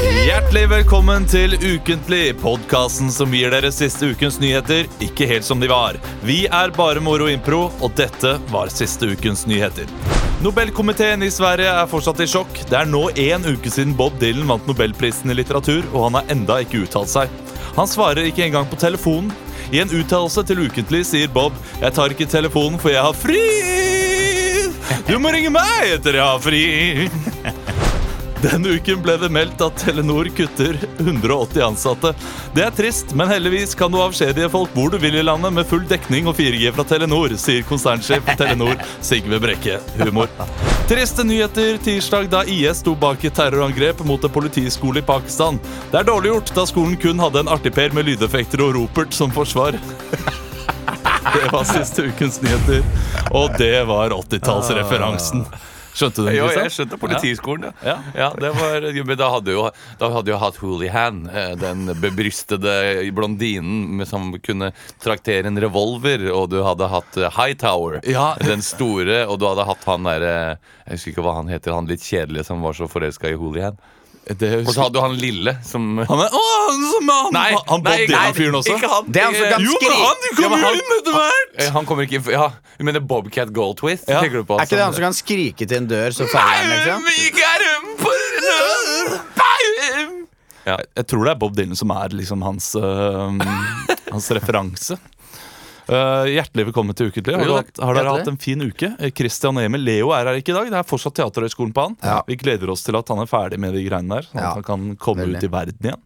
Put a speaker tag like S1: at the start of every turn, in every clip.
S1: Hjertelig velkommen til Ukentlig, podkasten som gir dere siste ukens nyheter ikke helt som de var. Vi er bare Moro Impro, og dette var siste ukens nyheter. Nobelkomiteen i Sverige er fortsatt i sjokk. Det er nå én uke siden Bob Dylan vant Nobelprisen i litteratur, og han har enda ikke uttalt seg. Han svarer ikke engang på telefonen. I en uttalelse til Ukentlig sier Bob Jeg tar ikke telefonen, for jeg har fri! Du må ringe meg etter jeg har fri! Denne uken ble det meldt at Telenor kutter 180 ansatte. Det er trist, men heldigvis kan du avskjedige folk hvor du vil i landet med full dekning og 4G fra Telenor, sier konsernsjef for Telenor Sigve Brekke. Humor. Triste nyheter tirsdag da IS sto bak et terrorangrep mot en politiskole i Pakistan. Det er dårlig gjort, da skolen kun hadde en artigper med lydeffekter og ropert som forsvar. Det var siste ukens nyheter, og det var 80-tallsreferansen. Skjønte du den?
S2: Jo, jeg
S1: Kristian?
S2: skjønte politiskolen, ja.
S1: Ja.
S2: ja. det var, jo, men da hadde jo, da hadde jo hatt Hoolihan, eh, den bebrystede blondinen med, som kunne traktere en revolver, og du hadde hatt eh, Hightower,
S1: Ja.
S2: den store, og du hadde hatt han derre Jeg husker ikke hva han heter, han litt kjedelige som var så forelska i Hoolihan.
S1: Det
S2: Og så hadde du han lille som
S1: Han er, å, han som er han,
S2: Nei,
S1: han Bob
S2: nei,
S1: Dylan-fyren
S2: nei,
S1: også?
S2: Ikke han.
S3: Det er han som
S2: Eh,
S3: kan
S1: Jo, men
S3: skrike.
S1: han
S2: Ja,
S1: kommer
S2: men
S1: jo
S2: han-
S1: inn etter hvert!
S2: eh, Han kommer ikke Ja, du mener Bobcat Goldtwist?
S1: Ja.
S2: Tenker du på?
S3: Er ikke det han som kan skrike til en dør, så faller den, liksom?
S2: liksom? Ja.
S1: Jeg tror det er Bob Dylan som er liksom hans øh, Hans referanse. Øh, hjertelig velkommen til Ukentlig. Har,
S2: Jo,
S1: du
S2: takk.
S1: hatt- har dere
S2: Hjertelig.
S1: hatt en fin uke? Eh, Christian og Emil Leo er her ikke i dag. Det er fortsatt Teaterhøgskolen på han.
S3: Ja.
S1: Vi gleder oss til at han er ferdig med de greiene der. Sånn at
S3: Ja,
S1: han kan komme
S3: veldig.
S1: ut i verden igjen.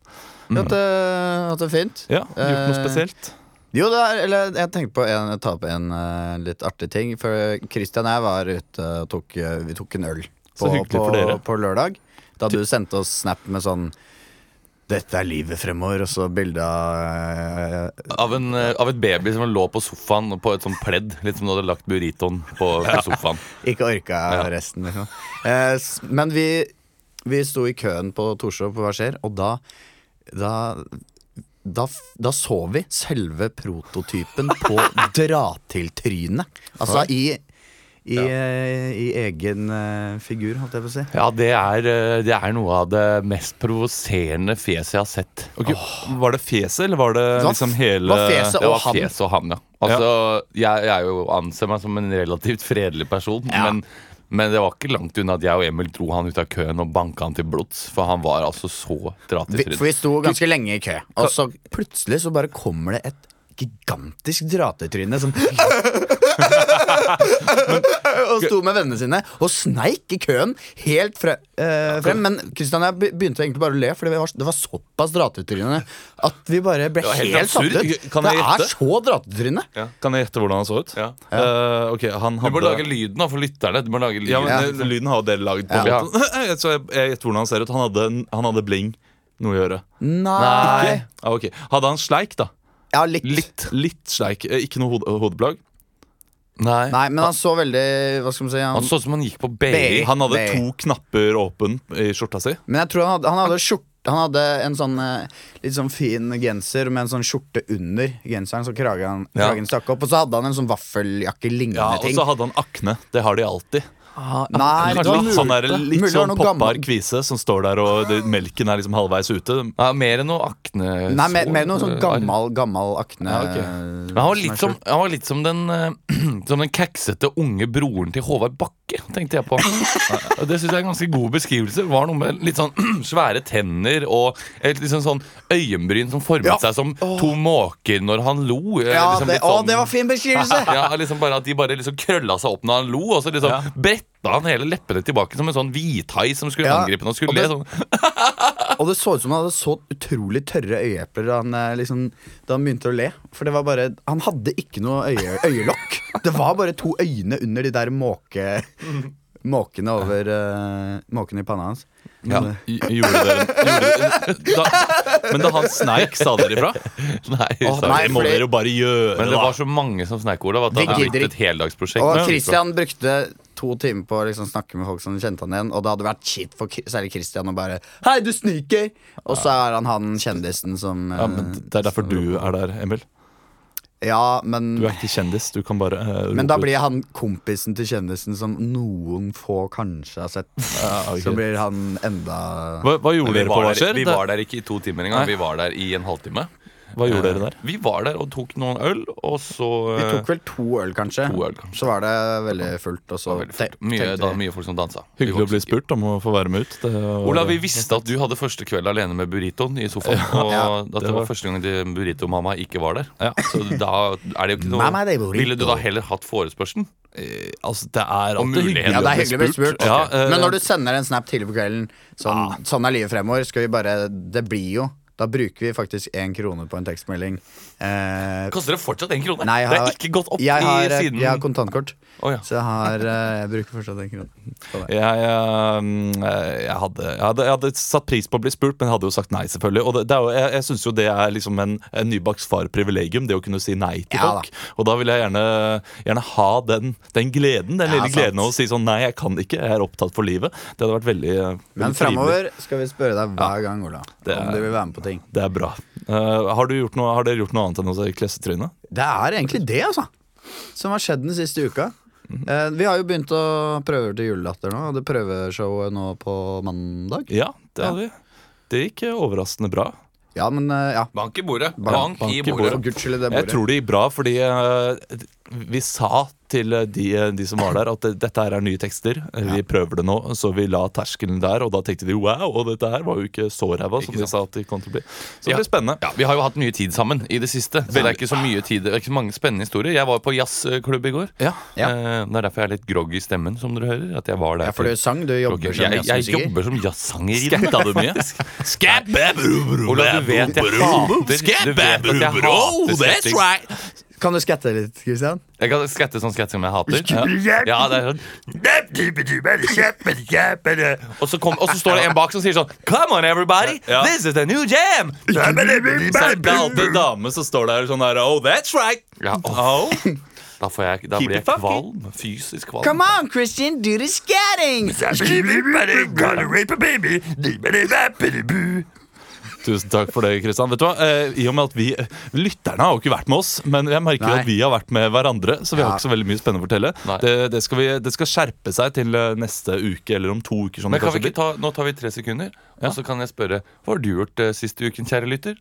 S3: Vi har Hatt det- hatt det fint.
S1: Ja, Gjort noe
S3: Eh,
S1: spesielt.
S3: Jo, det er, eller jeg tenkte på en, jeg tar på en eh, litt artig ting. For Christian og jeg var ute og tok, eh, vi tok en øl på,
S1: Så hyggelig
S3: på,
S1: for dere.
S3: på lørdag. Da du sendte oss snap med sånn 'Dette er livet fremover', og så bilde av eh,
S2: Av, en, eh, av et baby som lå på sofaen på et sånt pledd. Litt som du hadde lagt burritoen på, på sofaen.
S3: Ikke orka resten, liksom. Eh, s- men vi, vi sto i køen på Torshov på Hva skjer, og da da, da f- da så vi selve prototypen på dra-til-trynet. Altså i i, eh, i egen eh, figur, holdt jeg på å si.
S2: Ja, det er, eh, det er noe av det mest provoserende fjeset jeg har sett.
S1: Ok, Var det fjeset, eller var det
S3: var
S1: liksom
S3: f-
S1: hele
S3: var fjeset
S2: Det
S3: Og
S2: var
S3: han.
S2: fjes og han, ja. Altså, Jeg, jeg er jo anser meg som en relativt fredelig person, men, men det var ikke langt unna at jeg og Emil dro han ut av køen og banka han til blods, for han var altså så dra til
S3: Vi,
S2: trynet.
S3: for vi sto ganske lenge i kø, og så plutselig så bare kommer det et gigantisk dra-til-tryne som Og sto med vennene sine og sneik i køen helt fre, eh, frem. Men Kristian og jeg be- begynte egentlig bare å le, for det var, det var såpass dra-til-tryne at vi bare ble
S2: var helt
S3: helt, satt
S2: absurd.
S3: ut.
S1: Kan
S3: det
S1: jeg
S3: er
S1: gjette?
S3: så dra-til-tryne.
S1: Kan jeg gjette hvordan han så ut?
S2: Ja.
S1: Eh, ok, han
S2: Du må
S1: hadde
S2: lage lyden da, for lytterne. Du må lage lyden
S1: Ja, men
S3: Ja.
S1: det- Lyden har jo dere lagd på
S2: Ja.
S1: båten. Så jeg jeg gjetter hvordan han ser ut. Han hadde, en- han hadde bling. Noe å gjøre.
S3: Nei.
S1: Ikke? Ja, ok. Hadde han sleik, da?
S3: Ja, litt.
S1: Litt, litt sleik. Eh, Ikke noe hode, hodeplagg?
S2: Nei.
S3: Nei, men han så veldig Hva skal man si?
S2: Han
S3: Han,
S2: så ut som han gikk på BI.
S3: Nei.
S1: Han hadde
S3: Nei.
S1: to knapper åpen i skjorta si.
S3: Men jeg tror han hadde, han hadde skjort- Han hadde en sånn eh, litt sånn fin genser med en sånn skjorte under genseren, så kragen,
S2: Ja.
S3: kragen stakk opp. Og så hadde han en sånn vaffeljakke-lignende
S1: Ja, Og
S3: ting.
S1: så hadde han akne. Det har de alltid.
S2: Ah,
S3: Nei, det var
S1: litt sånn, der,
S3: mulig-
S1: litt
S3: mulig det var
S1: sånn
S3: noe gammel-
S1: poppar kvise som står der, og det, melken er liksom halvveis ute.
S2: Ja, mer enn noe akne
S3: Nei, mer, mer noe sånn gammal, gammal akne.
S1: Ja, ok.
S3: eh,
S2: Men han var
S3: er
S2: litt sånn- som,
S3: skjult.
S2: han var litt som den eh, Som den keksete unge broren til Håvard Bakke, tenkte jeg på. Og det syns jeg er en ganske god beskrivelse. Det var noe med litt sånn svære tenner og et liksom sånn øyenbryn som formet
S3: Ja.
S2: seg som to måker når han lo. eh,
S3: Ja,
S2: liksom
S3: det,
S2: litt
S3: å,
S2: sånn-
S3: det var fin beskrivelse!
S2: Ja, liksom bare At de bare liksom krølla seg opp når han lo, og så liksom bretta han hele leppene tilbake som en sånn hvithai som skulle
S3: Ja.
S2: angripe noen og skulle
S3: Og det-
S2: le. Sånn.
S3: Og det så ut som han hadde så utrolig tørre øyeepler da han, eh, liksom, da han begynte å le. For det var bare Han hadde ikke noe øye, øyelokk. Det var bare to øyne under de der måke... Måkene over eh, Måkene i panna hans. eh,
S1: Ja. Gjorde dere, gjorde dere da, Men da han sneik, sa dere ifra?
S2: Nei,
S3: Å,
S2: sorry.
S3: nei,
S1: Det må
S3: fordi-
S1: dere jo bare gjøre,
S2: Men det
S1: da.
S2: var så mange som sneik, Olav, at det
S3: Vi
S2: hadde
S3: gidder
S2: blitt et heldagsprosjekt.
S3: Og
S2: Men-
S3: Christian
S1: altså.
S3: brukte to timer på å liksom snakke med folk som kjente han igjen, og det hadde vært shit for Kri- særlig Christian å bare Hei, du sniker! Og så er han han kjendisen som eh,
S1: Ja, men det er derfor du er der, Emil.
S3: Ja, men
S1: Du er ikke kjendis, du kan bare eh,
S3: Men da
S1: rope ut.
S3: blir han kompisen til kjendisen som noen få kanskje har sett.
S1: ok.
S3: Så blir han enda
S1: hva, hva gjorde
S2: Vi
S1: dere på
S2: var,
S1: hva
S2: der,
S1: skjer?
S2: vi var der ikke i to timer engang.
S1: Nei.
S2: Vi var der i en halvtime. Eh,
S1: Hva gjorde dere der?
S2: Vi var der og tok noen øl, og så eh,
S3: Vi tok vel to øl, kanskje.
S2: To øl, kanskje.
S3: Så var det veldig fullt. Og så
S2: eh, veldig fort.
S3: te-
S2: mye,
S3: tenkte
S2: da,
S3: vi-
S2: mye folk som dansa. Vi
S1: Hyggelig å
S2: var
S1: bli
S2: ikke-
S1: spurt om å få være med ut. Det var-
S2: Ola, vi visste at du hadde første kveld alene med burritoen i sofaen. Og
S3: Ja,
S2: at det var første gang din burrito-mamma ikke var der. Så da er det jo ikke
S3: Mamma, det
S2: noe
S3: er burrito.
S2: Ville du da heller hatt forespørselen?
S1: Eh, altså, det er
S2: Og
S1: alltid
S2: mulighet.
S3: ja, det er hyggelig å bli spurt.
S1: Ja,
S3: Ok.
S1: eh,
S3: Men når du sender en snap tidlig på kvelden sånn, sånn er livet fremover. Skal vi bare Det blir jo Da bruker vi faktisk én krone på en tekstmelding. Eh,
S2: Koster det fortsatt én krone?
S3: nei, jeg
S2: det
S3: har-
S2: er ikke gått opp
S3: jeg har,
S2: i siden
S3: Jeg har kontantkort,
S2: Å, ja.
S3: så jeg, har, eh, jeg bruker fortsatt én krone. på det.
S1: Jeg, eh, mm, eh, jeg, hadde, jeg, hadde, jeg hadde satt pris på å bli spurt, men jeg hadde jo sagt nei, selvfølgelig. Og det, det er jo, jeg jeg syns jo det er liksom en, en nybakt far-privilegium, det å kunne si nei til
S3: Ja,
S1: folk. Og da vil jeg gjerne, gjerne ha den, den gleden, den
S3: Ja,
S1: lille
S3: sant.
S1: gleden av å si sånn nei, jeg kan ikke, jeg er opptatt for livet. Det hadde vært veldig, eh, veldig
S3: Men
S1: trivelig.
S3: fremover skal vi spørre deg hver gang, Ola,
S1: Det
S3: om
S1: er-
S3: du vil være med på ting.
S1: Det er bra. Eh, har, du gjort noe, har dere gjort noe annet enn å se klessetrynet?
S3: Det er egentlig det, altså. Som har skjedd den siste uka.
S1: Mhm.
S3: Eh, vi har jo begynt å prøve til julelatter nå. Hadde prøveshowet nå på mandag.
S1: Ja, det hadde vi. Det gikk eh, overraskende bra.
S3: Ja, men eh, ja.
S2: Bank i bordet. Bank,
S3: Bank-
S1: bank i
S2: i
S3: For
S2: bordet.
S3: guds skyld i det
S1: Jeg
S3: bordet.
S1: tror det gikk bra, fordi eh, vi sa til eh, de, de som var der, at eh, dette her er nye tekster. Eh, Vi prøver det nå, så vi la terskelen der. Og da tenkte de wow, og dette her var jo ikke så ræva som
S2: Ikke
S1: de
S2: sant?
S1: sa at det kom til å bli. Så det
S2: Ja.
S1: blir spennende.
S2: Ja, Vi har jo hatt mye tid sammen i det siste. Så det er ikke så mye tid, det er ikke så mange spennende historier. Jeg var på jazzklubb i går.
S1: Ja.
S3: Ja.
S2: Eh, Det er derfor jeg er litt groggy i stemmen, som dere hører. At jeg var der
S3: Ja, for du sang, du
S2: Ok,
S3: jobber som
S2: jeg, jeg
S3: jazzmusiker.
S2: jobber som jazzsanger i
S1: Skatta du mye?
S2: Ola, du vet jeg hater Du vet at jeg hater skatting.
S3: Kan du skatte litt, Christian?
S2: Jeg kan skatte sånn skatt som jeg hater. Ja, ja det er sånn og så, kom, og så står det en bak som sier sånn Come on, everybody!
S1: Ja.
S2: This is the new jam!
S1: Det er en galte dame som står der sånn her Oh, that's right!
S2: Ja, åh,
S1: Oh.
S2: da, får jeg, da
S1: Keep
S2: blir jeg
S1: it funky.
S2: kvalm. Fysisk kvalm.
S3: Come on, Christian, do the scatting!
S1: Tusen takk for det, Kristian. Vet du hva? Eh, I og med at vi Lytterne har jo ikke vært med oss, men jeg merker jo
S3: Nei.
S1: at vi har vært med hverandre. Så vi
S3: Ja.
S1: har ikke så veldig mye spennende å fortelle.
S2: Nei.
S1: Det, det, skal vi, det skal skjerpe seg til eh, neste uke eller om to uker. Sånn
S2: Men
S1: det
S2: kan vi
S1: kanskje
S2: ikke ta, Nå tar vi tre sekunder, og så kan jeg spørre Hva har du gjort eh, siste uken, kjære lytter?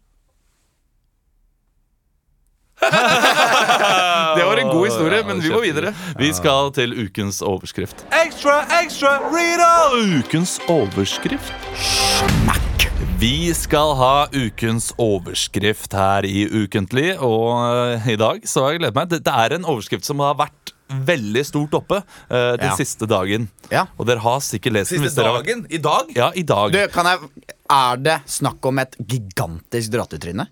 S2: det var en god historie,
S1: Ja,
S2: men vi må
S1: kjempe-
S2: videre.
S1: Vi skal til ukens overskrift. Ekstra, ekstra, Rita! Ukens overskrift. Vi skal ha ukens overskrift her i Ukentlig, og eh, i dag så har jeg gledet meg. Det, det er en overskrift som har vært veldig stort oppe eh, den
S3: Ja.
S1: siste dagen.
S3: Ja.
S1: Og dere har sikkert lest den. hvis dere har vært-
S2: I dag?
S1: Ja, i dag.
S3: Du, kan jeg Er det snakk om et gigantisk drattetryne?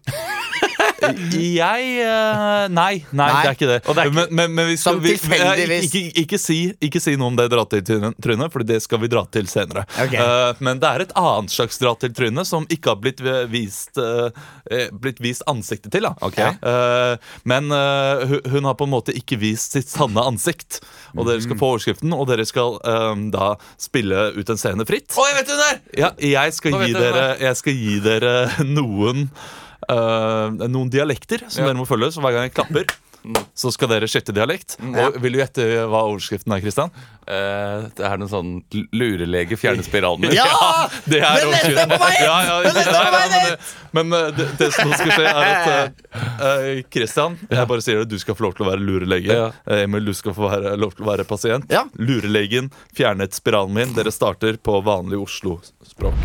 S1: Jeg eh, nei, nei,
S3: Nei.
S1: det er ikke det.
S3: Og det er ikke-
S1: men, men, men vi skal,
S3: Som
S1: vi, vi- eh,
S3: tilfeldigvis-
S1: ikke, ikke, ikke, si, ikke si noe om det dra til trynet- trynet, for det skal vi dra til senere.
S3: Ok.
S1: Eh, men det er et annet slags dra til trynet som ikke har blitt eh, vist, eh, eh, blitt vist ansiktet til. Da. Eh, men eh, hun, hun har på en måte ikke vist sitt sanne ansikt. Og dere
S3: Mm.
S1: skal få overskriften, og dere skal eh, da spille ut en scene fritt.
S2: Å, jeg vet hun der!
S1: Ja, jeg skal,
S2: Nå
S1: gi
S2: vet jeg
S1: dere, jeg skal gi dere noen øh, Noen dialekter som
S2: Ja.
S1: dere må følge. Så hver gang jeg klapper, så skal dere skifte dialekt.
S2: Mm.
S1: Og Vil du gjette hva overskriften er, Kristian?
S2: Eh, det er noe sånn l- lurelege fjerner spiralen min.
S3: Ja!
S1: Det er
S3: Den neste er på vei hit!
S1: Ja, ja,
S3: Den neste er
S1: nei,
S3: på vei
S1: nei, men, men øh, det, det som nå skal skje, er at øh, øh, Kristian Jeg bare sier det, du skal få lov til å være lurelege.
S2: Ja.
S1: Eh, Emil, du skal få være, lov til å være pasient.
S3: Ja.
S1: Lurelegen fjernet spiralen min. Dere starter på vanlig Oslo-språk.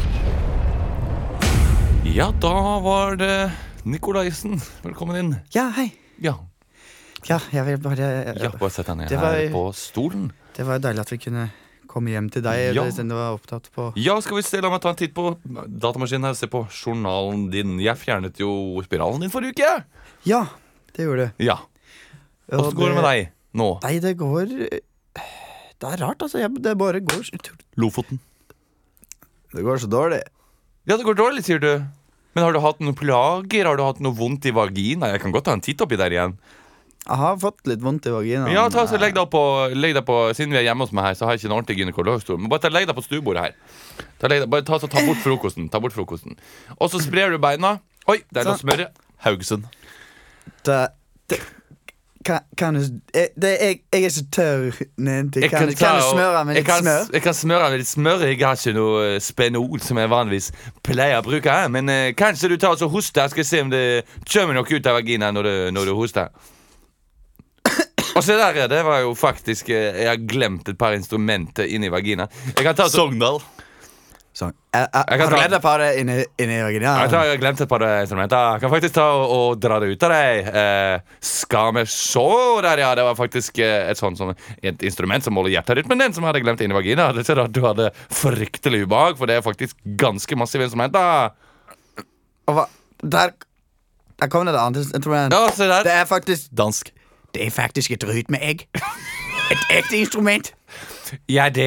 S2: Ja, da var det Nikolaisen. Velkommen inn.
S4: Ja, hei.
S2: Ja,
S4: Ja, jeg vil bare
S2: ja bare sett deg ned
S4: Det var-
S2: her på stolen.
S4: Det var deilig at vi kunne komme hjem til deg.
S2: Ja.
S4: Ja. Siden du var opptatt på
S2: Ja, skal vi se, La meg ta en titt på datamaskinen her og se på journalen din. Jeg fjernet jo spiralen din forrige uke.
S4: Ja, det gjorde du.
S2: Ja, Åssen går det med deg nå?
S4: Nei, det går Det er rart, altså. Jeg, det bare går så utrolig
S1: Lofoten.
S3: Det går så dårlig.
S2: Ja, det går dårlig, sier du. Men har du hatt noen plager? Har du hatt noe vondt i vagina? Jeg kan godt ta en titt oppi der igjen.
S4: Jeg har fått litt vondt i vaginaen.
S2: Ja, ta så Legg deg opp på, legg deg på Siden vi er hjemme hos meg her, så har jeg ikke en ordentlig gynekologstol. Men bare ta, legg deg på stuebordet her. Ta, legg deg, bare ta, så, ta bort frokosten. Ta bort frokosten Og så sprer du beina. Oi, der lå smøret.
S1: Haugesund.
S4: Det,
S3: Kan, kan du jeg, det, jeg, jeg er ikke tørr nedi.
S2: Jeg
S3: Kan, kan,
S2: ta
S3: du
S2: og-
S3: smøre med
S2: jeg
S3: litt
S2: kan,
S3: smør?
S2: Jeg kan smøre med litt smør. Jeg har ikke noe eh, spenol som jeg vanligvis pleier å bruke. her, Men eh, kanskje du tar og så hoster, skal jeg se om det kommer noe ut av vaginaen når du, når du hoster. Og se der, ja, det var jo faktisk eh, Jeg har glemt et par instrumenter inni vaginaen. Jeg kan ta og så
S1: Sogndal.
S5: Sånn. Jeg,
S2: Jeg
S5: jeg,
S2: kan
S5: har du
S2: ta-
S5: redda på det inni, inni
S2: Jeg
S5: vaginaen?
S2: tror jeg har glemt et par eh, instrumenter. Jeg kan faktisk ta og, og dra det ut av deg. Eh, skal vi se der, ja. Det var faktisk eh, et sånt som, et instrument som måler hjerterytmen din, som jeg hadde glemt inni vagina. Det er ikke rart du hadde fryktelig ubehag, for det er faktisk ganske massive instrumenter.
S3: Og hva, der, der kom det et annet instrument.
S2: Ja, se der.
S3: Det er faktisk
S1: Dansk.
S3: Det er faktisk et rytmeegg. Et ekte instrument.
S2: Ja, det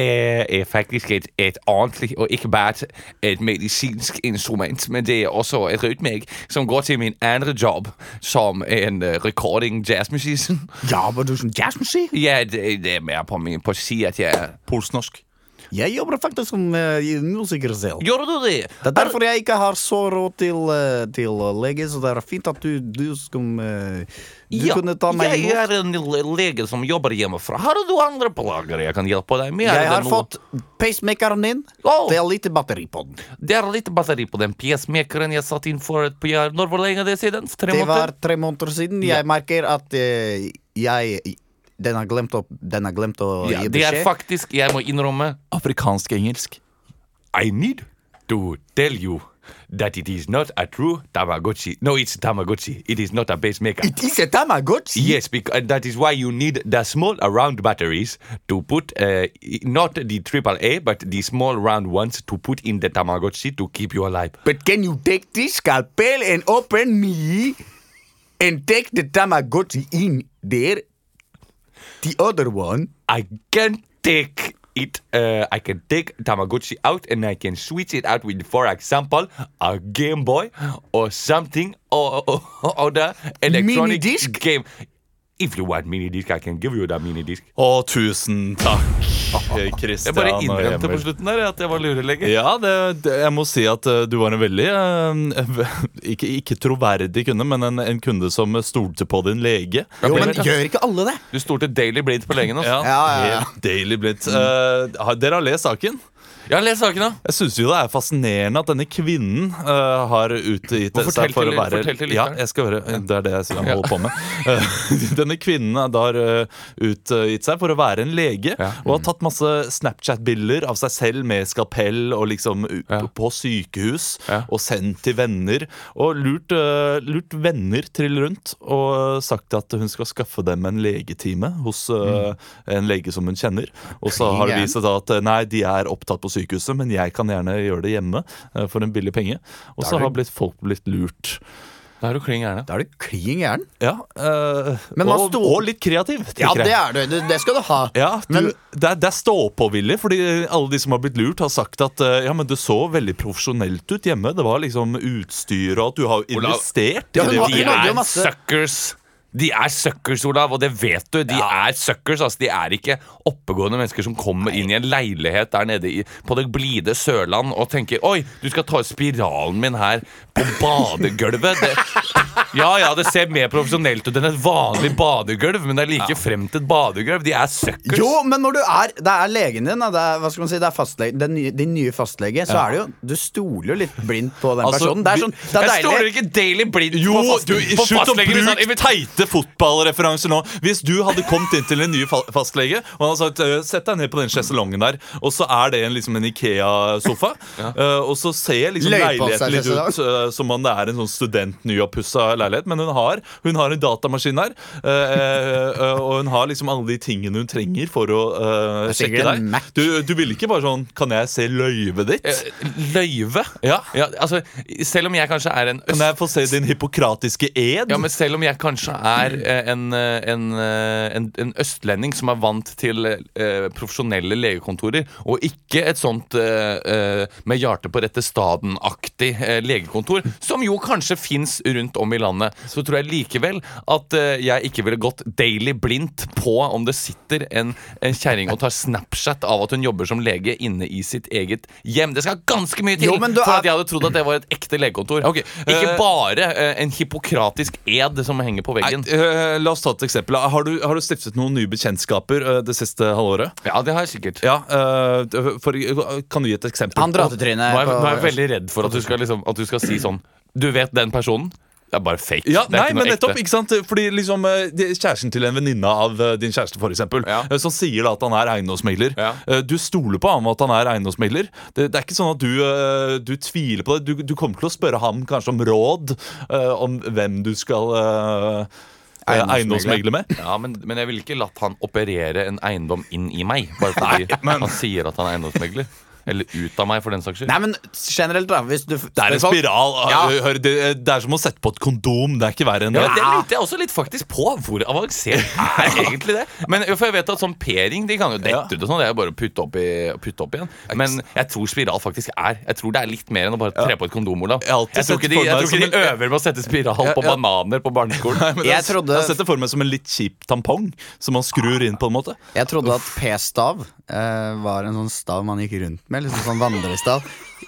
S2: er faktisk et, et ordentlig, og ikke bare et, et medisinsk instrument, men det er også et rytmeegg som går til min andre job som en eh, recording jazzmusician.
S3: Ja, men du som jazzmusikk?
S2: Ja, det, det er mer på, min, på å si at jeg er
S1: Polsnorsk.
S3: Jeg jobber faktisk som eh, musiker selv.
S2: Gjorde du det?
S3: Det er derfor jeg ikke har så råd til, eh, til lege, så det er fint at du, du skal eh, Du kunne ta meg
S2: jeg
S3: imot.
S2: er en le- lege som jobber hjemmefra. Har du andre plager jeg kan hjelpe deg med? Er
S3: Jeg
S2: det
S3: har
S2: noe-
S3: fått pacemakeren din.
S2: Å,
S3: Det er lite batteri på den.
S2: det er litt batteri på den pacemaker-en jeg satt inn for et par Når hvor lenge er det siden? Tre
S3: Det var
S2: måneder?
S3: tre måneder siden. Jeg merker at eh, jeg Den har glemt å, den har glemt å
S2: Ja,
S3: gi
S2: det er
S3: beskjed.
S2: faktisk, jeg må innrømme
S1: Afrikansk-engelsk.
S2: I need to tell you that it is not a true Tamagotchi. No, it's Tamagotchi. It is not a pacemaker.
S3: Disse Tamagotchi!
S2: Yes, because that is why you need the small round batteries to put, uh, i- not the triple A, but the small round ones to put in the Tamagotchi to keep you alive.
S3: But can you take this scalpel and open me and take the Tamagotchi in there? The other one?
S2: I can take it. Uh, I can take Tamagotchi out and I can switch it out with, for example, a Game Boy or something or or- or other electronic
S3: Mini-disc?
S2: game. If you want mini disc, I can give you that mini disc.
S1: Å, tusen takk, Kristian
S2: Jeg bare
S1: og
S2: innrømte
S1: Emil.
S2: på slutten der at jeg var lureleger.
S1: Ja, det, det, jeg må si at eh, du var en veldig eh, ikke, ikke troverdig kunde, men en, en kunde som stolte på din lege.
S3: Jo, men gjør ikke alle det?
S2: Du stolte Daily Blind på legen. Altså.
S1: Ja,
S3: ja, ja.
S1: Helt daily blitt. Eh, har- dere har lest saken?
S2: Ja, les saken, da.
S1: Jeg syns jo det er fascinerende at denne kvinnen eh, har utgitt
S2: Må fortell
S1: seg for
S2: til-
S1: å være
S2: fortell til lytteren.
S1: Ja, jeg skal høre. Det er det jeg sier han holder på med. Eh, denne kvinnen har da eh, utgitt seg for å være en lege
S2: Ja.
S1: og har tatt masse Snapchat-bilder av seg selv med skalpell og liksom u-
S2: Ja.
S1: på sykehus
S2: Ja.
S1: og sendt til venner. Og lurt, eh, lurt venner trill rundt og sagt at hun skal skaffe dem en legetime hos
S2: Mm.
S1: eh, en lege som hun kjenner. Og så har det vist seg da at eh, nei, de er opptatt på sykehuset, men jeg kan gjerne gjøre det hjemme eh, for en billig penge. Og så har blitt, folk blitt lurt.
S2: Da er du klin gæren.
S3: Da er du klin gæren.
S1: Ja, eh,
S3: Men man
S1: og,
S3: sto-
S1: og litt kreativ,
S3: Ja,
S1: tenker
S3: det
S1: jeg.
S3: er du. Det, det skal du ha.
S1: Ja, du,
S3: Men-
S1: det er, det er stå-på-vilje, fordi alle de som har blitt lurt, har sagt at eh, ja, men det så veldig profesjonelt ut hjemme. Det var liksom utstyr, og at du har
S2: Olav-
S1: investert. i
S3: Ja,
S1: det du
S3: hun har-
S2: De
S3: hun
S1: gjør.
S3: har- jo
S2: er
S3: masse-
S2: suckers. De er suckers, Olav, og det vet du. De er suckers, altså. De er ikke oppegående mennesker som kommer inn i en leilighet der nede i, på det blide Sørland og tenker Oi, du skal ta ut spiralen min her på badegulvet. Det, ja ja, det ser mer profesjonelt ut enn et vanlig badegulv, men det er like fremt et badegulv. De er suckers.
S3: Jo, men når du er Det er legen din, da. Det er, hva skal man si, det er fastlege, den nye, din nye fastlege. Så er det jo Du stoler jo litt blindt på den
S1: Altså,
S3: personen. Det er sånn Det er
S2: jeg stoler
S3: deilig.
S2: ikke daily blind
S1: Jo,
S2: på, fast,
S1: du,
S2: på sånn,
S1: slutt å
S2: fastlegen, hvis han
S1: bruke teite fotballreferanser nå. Hvis du hadde kommet inn til en ny fa- fastlege og han hadde sagt «Eh, sett deg ned på den sjeselongen der, og så er det en, liksom en Ikea-sofa, eh, og så ser liksom
S3: Løy på seg
S1: leiligheten litt
S3: sjeselong.
S1: ut eh, som om det er en sånn student nyoppussa leilighet, men hun har, hun har en datamaskin der, eh, eh, eh, og hun har liksom alle de tingene hun trenger for å eh,
S3: Det er
S1: sjekke
S3: sikkert en
S1: deg.
S3: Mac.
S1: Du, du ville ikke bare sånn Kan jeg se løyvet ditt?
S2: Eh, Løyve?
S1: Ja.
S2: altså, selv om jeg kanskje er en
S1: Kan jeg få se din hippokratiske ed?
S2: Ja, men selv om jeg kanskje er eh, en, eh, en, eh, en, en østlending som er vant til eh, profesjonelle legekontorer, og ikke et sånt eh, eh, med hjertet på rette staden-aktig eh, legekontor, som jo kanskje fins rundt om i landet, så tror jeg likevel at eh, jeg ikke ville gått daily blindt på om det sitter en, en kjerring og tar Snapchat av at hun jobber som lege inne i sitt eget hjem. Det skal ganske mye til
S3: Jo, men du
S2: for
S3: er-
S2: at jeg hadde trodd at det var et ekte legekontor.
S1: Ok,
S2: Ikke
S1: eh,
S2: bare eh, en hippokratisk ed som henger på
S1: Nei,
S2: veggen. musikken.
S1: Eh, la oss ta et eksempel. Har du, har du stiftet noen nye bekjentskaper eh, det siste halvåret?
S2: Ja, det har jeg sikkert.
S1: Ja, eh, for, Kan du gi et eksempel?
S3: Han
S2: Nå
S3: dratetrynet
S2: er, jeg- nå er jeg
S3: på
S2: veldig redd for at du skal, liksom, at du skal si sånn Du vet den personen? Det er bare fake.
S1: Ja,
S2: det er
S1: nei,
S2: ikke noe
S1: men nettopp,
S2: ekte.
S1: ikke sant? Fordi liksom eh, det- Kjæresten til en venninne av eh, din kjæreste, for eksempel,
S2: Ja.
S1: eh, som sier da at han er eiendomsmegler.
S2: Ja.
S1: Eh, Du stoler på ham at han er eiendomsmegler. Det, det er ikke sånn at du, eh, du tviler på det. Du, du kommer til å spørre ham kanskje om råd eh, om hvem du skal eh, eh,
S3: Eiendomsmegle.
S1: eiendomsmegle med.
S2: Ja, men, men jeg ville ikke latt han operere en eiendom inn i meg, bare fordi han sier at han er eiendomsmegler. Eller ut av meg, for den saks skyld.
S3: Nei, men generelt, da. Hvis du
S1: Det er en spiral. Ah,
S2: Ja.
S1: Hør, det, det er som å sette på et kondom. Det er ikke verre enn det.
S2: Ja, men Det lurte jeg også litt faktisk på. Hvor avansert er egentlig det? Men For jeg vet at sånn P-ring de kan jo dette
S1: Ja.
S2: ut og sånn. Det er jo bare å putte opp, i, putte opp igjen. Men jeg tror spiral faktisk er Jeg tror det er litt mer enn å bare tre på et kondom, Olav.
S1: Jeg har alltid
S2: Jeg tror
S1: sett
S2: ikke de,
S1: for meg
S2: jeg tror
S1: som
S2: ikke de
S1: en-
S2: øver med å sette spiral
S1: Ja,
S2: på
S1: ja.
S2: bananer på barneskolen.
S1: Men det er-
S3: Jeg trodde-
S1: jeg har
S2: altså,
S1: sett det for meg som en litt kjip tampong som man skrur inn på en måte.
S3: Jeg trodde at p-stav eh, var en sånn stav man gikk rundt med, liksom sånn vandrestav,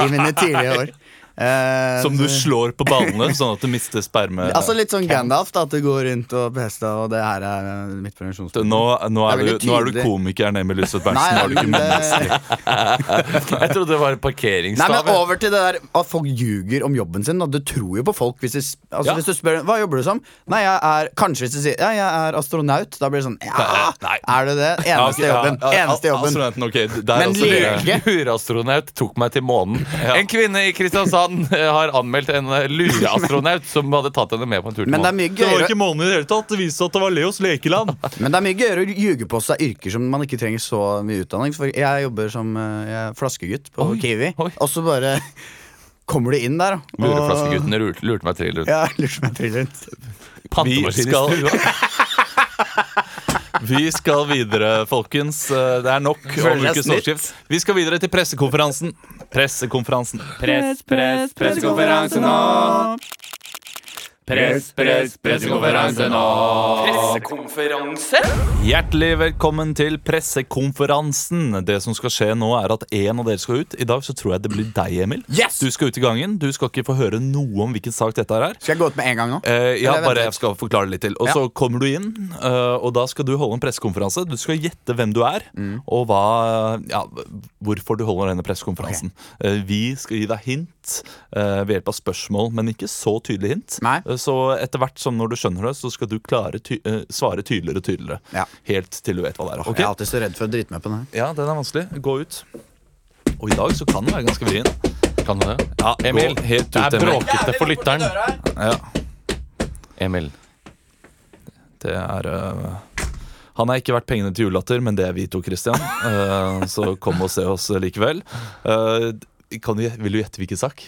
S3: i mine tidlige år. Eh,
S1: Som du
S3: så-
S1: slår på ballene, sånn at du mister sperme.
S3: Altså litt sånn Gandalf, da, at du går rundt og p-stav, og det her er eh, mitt
S1: nå,
S3: permisjonsbord.
S1: nå, er
S3: Det er
S1: du,
S3: veldig
S1: nå er du
S3: tydelig.
S1: komikeren Emil Luseth
S3: Nei,
S1: Berntsen. Nå er du ikke
S3: men,
S1: menneske.
S3: eh,
S2: Jeg trodde det var
S3: nei,
S2: parkeringsstav.
S3: men
S2: jeg.
S3: over til det der at folk ljuger om jobben sin. Da. Du tror jo på folk hvis du, s- altså,
S2: Ja.
S3: hvis du spør Hva jobber du som. Nei, jeg er Kanskje hvis du sier Ja, jeg er astronaut. Da blir det sånn Ja,
S1: Nei.
S3: er du det? Eneste
S1: Ja, ok,
S3: jobben.
S1: ja, ja,
S3: Eneste jobben.
S1: astronauten, ok, der
S3: Men
S1: også det.
S3: lege-
S2: Lureastronaut tok meg til månen. En kvinne i Kristiansand eh, har anmeldt en eh, lureastronaut som hadde tatt henne med på en tur til
S3: Men det er
S2: månen.
S3: mye
S1: Det var
S3: gøyere
S1: ikke månen i det hele tatt. Det viste at det var Leos lekeland.
S3: Men det er mye gøyere å ljuge på seg yrker som man ikke trenger så mye utdanning. For jeg jobber som eh, jeg er flaskegutt på
S2: Oi,
S3: Kiwi,
S2: oi.
S3: og så bare kommer du inn der. da, og-
S2: Lureflaskeguttene lurte, lurte meg til rundt.
S3: Ja, lurer meg trill rundt.
S2: Pantemaskin i
S1: Vi skal-
S2: stua.
S1: Vi skal videre, folkens. Eh, Det er nok om
S3: Føler jeg
S1: ukes
S3: snitt.
S1: overskrift. Vi skal videre til pressekonferansen. Pressekonferansen.
S6: Press, press, pressekonferanse nå. Press, press, pressekonferanse nå.
S1: Hjertelig velkommen til pressekonferansen. Det som skal skje nå, er at en av dere skal ut. I dag så tror jeg det blir deg, Emil.
S3: Yes!
S1: Du skal ut i gangen. Du skal ikke få høre noe om hvilken sak dette er.
S3: Skal jeg gå ut med en gang nå?
S1: Eh, ja,
S3: Eller vent
S1: bare
S3: litt.
S1: jeg skal forklare det litt til. Og så kommer du inn, eh, og da skal du holde en pressekonferanse. Du skal gjette hvem du er,
S3: Mm.
S1: og hva, ja, hvorfor du holder denne pressekonferansen. Eh, vi skal gi deg hint eh, ved hjelp av spørsmål, men ikke så tydelige hint.
S3: Nei.
S1: Eh, så etter hvert som når du skjønner det, så skal du klare ty eh, svare tydeligere og tydeligere.
S3: Ja.
S1: Helt til du vet hva det er. ok?
S3: Jeg er alltid så redd for å drite meg på den her.
S1: Ja, den er vanskelig. Gå ut. Og i dag så kan den være ganske vrien.
S2: Kan du det?
S1: Ja,
S2: Emil,
S1: gå helt ut,
S2: det er
S1: Emil.
S2: bråkete for lytteren.
S1: Ja.
S2: Emil.
S1: Det er øh, Han har ikke vært pengene til julelatter, men det er vi to, Christian. Eh, så kom og se oss likevel. Eh, kan du, vil du gjette hvilken sak?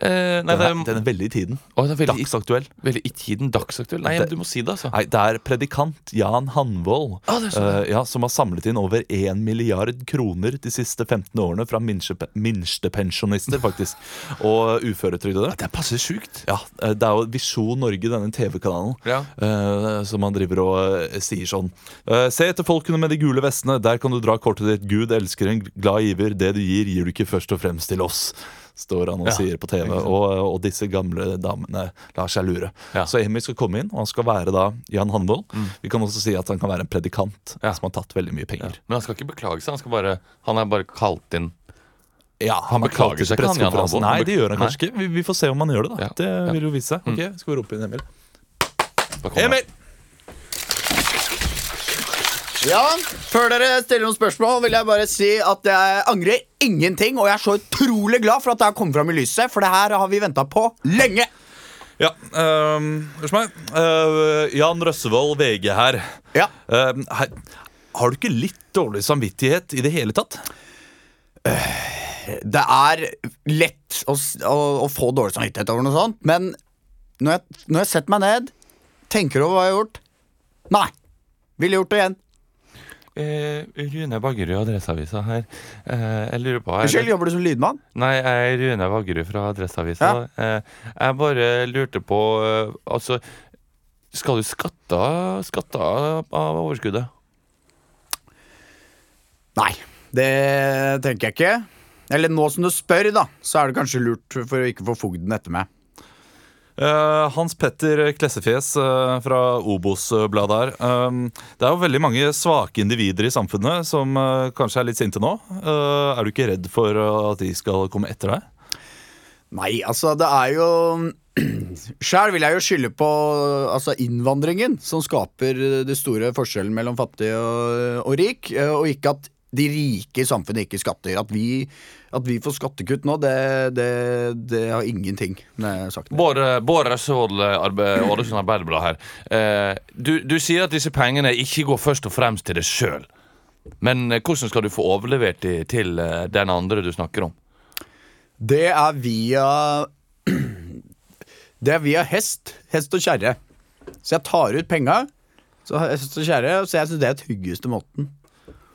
S2: Eh, nei,
S1: Den
S2: det
S1: er,
S2: er,
S1: den er veldig i tiden.
S2: Å, det er veldig, i-
S1: Dagsaktuell.
S2: veldig i tiden dagsaktuell. Nei,
S1: Det-
S2: du må si det, altså.
S1: Nei, det er predikant Jan Hanvold eh, ja, som har samlet inn over 1 milliard kroner de siste 15 årene fra minste- minstepensjonister, faktisk, og uføretrygdede.
S2: Det er passe sjukt.
S1: Ja, eh, det er jo Visjon Norge, denne TV-kanalen,
S2: Ja.
S1: eh, som han driver og eh, sier sånn. eh, Se etter folkene med de gule vestene. Der kan du dra kortet ditt. Gud elsker en glad giver. Det du gir, gir du ikke først og fremst til oss. Står han og
S2: Ja,
S1: sier på TV. Og, eh, og disse gamle damene lar seg lure.
S2: Ja. Mm.
S1: Så Emil skal komme inn, og han skal være da Jan Hanvold. Vi kan også si at han kan være en predikant
S2: Ja.
S1: som har tatt veldig mye penger.
S2: Men han skal ikke beklage seg. Han, skal bare, han er bare kalt inn.
S1: Ja, Han,
S2: beklager
S1: beklager
S2: seg
S1: seg
S2: ikke, han, Jan Hanvold.
S1: Nei, det gjør han kanskje ikke. Vi, vi får se om han gjør det, da.
S2: Ja. Ja. Mm.
S1: Det vil jo vise seg. Ok, skal vi rope inn Emil?
S2: Da kommer
S1: Emil!
S3: Ja, Før dere stiller noen spørsmål, vil jeg bare si at jeg angrer ingenting. Og jeg er så utrolig glad for at det her kom fram i lyset, for det her har vi venta på lenge.
S1: Ja, ehm, hør meg. Eh, Jan Røssevold, VG her.
S3: Ja
S1: Ehm, hei, har du ikke litt dårlig samvittighet i det hele tatt?
S3: det er lett å, s- å, å få dårlig samvittighet over noe sånt, men når jeg, når jeg setter meg ned, tenker over hva jeg har gjort Nei! Ville gjort det igjen.
S2: Eh, Rune Baggerud og Adresseavisa her. Eh, jeg lurer på er det-
S3: Unnskyld, jobber du som lydmann?
S2: Nei, jeg er Rune Vaggerud fra Adresseavisa. Eh, Jeg bare lurte på eh, Altså, skal du skatte av- skatte av av overskuddet?
S3: Nei, det tenker jeg ikke. Eller nå som du spør, da, så er det kanskje lurt for å ikke få fogden etter meg.
S1: Eh, Hans Petter Klessefjes eh, fra Obos-bladet her. Um, det er jo veldig mange svake individer i samfunnet som eh, kanskje er litt sinte nå. Eh, er du ikke redd for eh, at de skal komme etter deg?
S3: Nei, altså det er jo Sjæl vil jeg jo skylde på altså, innvandringen, som skaper det store forskjellen mellom fattig og, og rik. eh, Og ikke at de rike i samfunnet ikke skatter. At vi, at vi får skattekutt nå, det, det, det har ingenting med saken å gjøre.
S2: Bård Bård Røssevold, eh, Arbe- Ålesund Arbeiderblad her. Eh, du, du sier at disse pengene ikke går først og fremst til deg sjøl. Men eh, hvordan skal du få overlevert de til eh, den andre du snakker om?
S3: Det er via Det er via hest. Hest og kjerre. Så jeg tar ut penga. Så hest og kjerre, så jeg syns det er den tryggeste måten.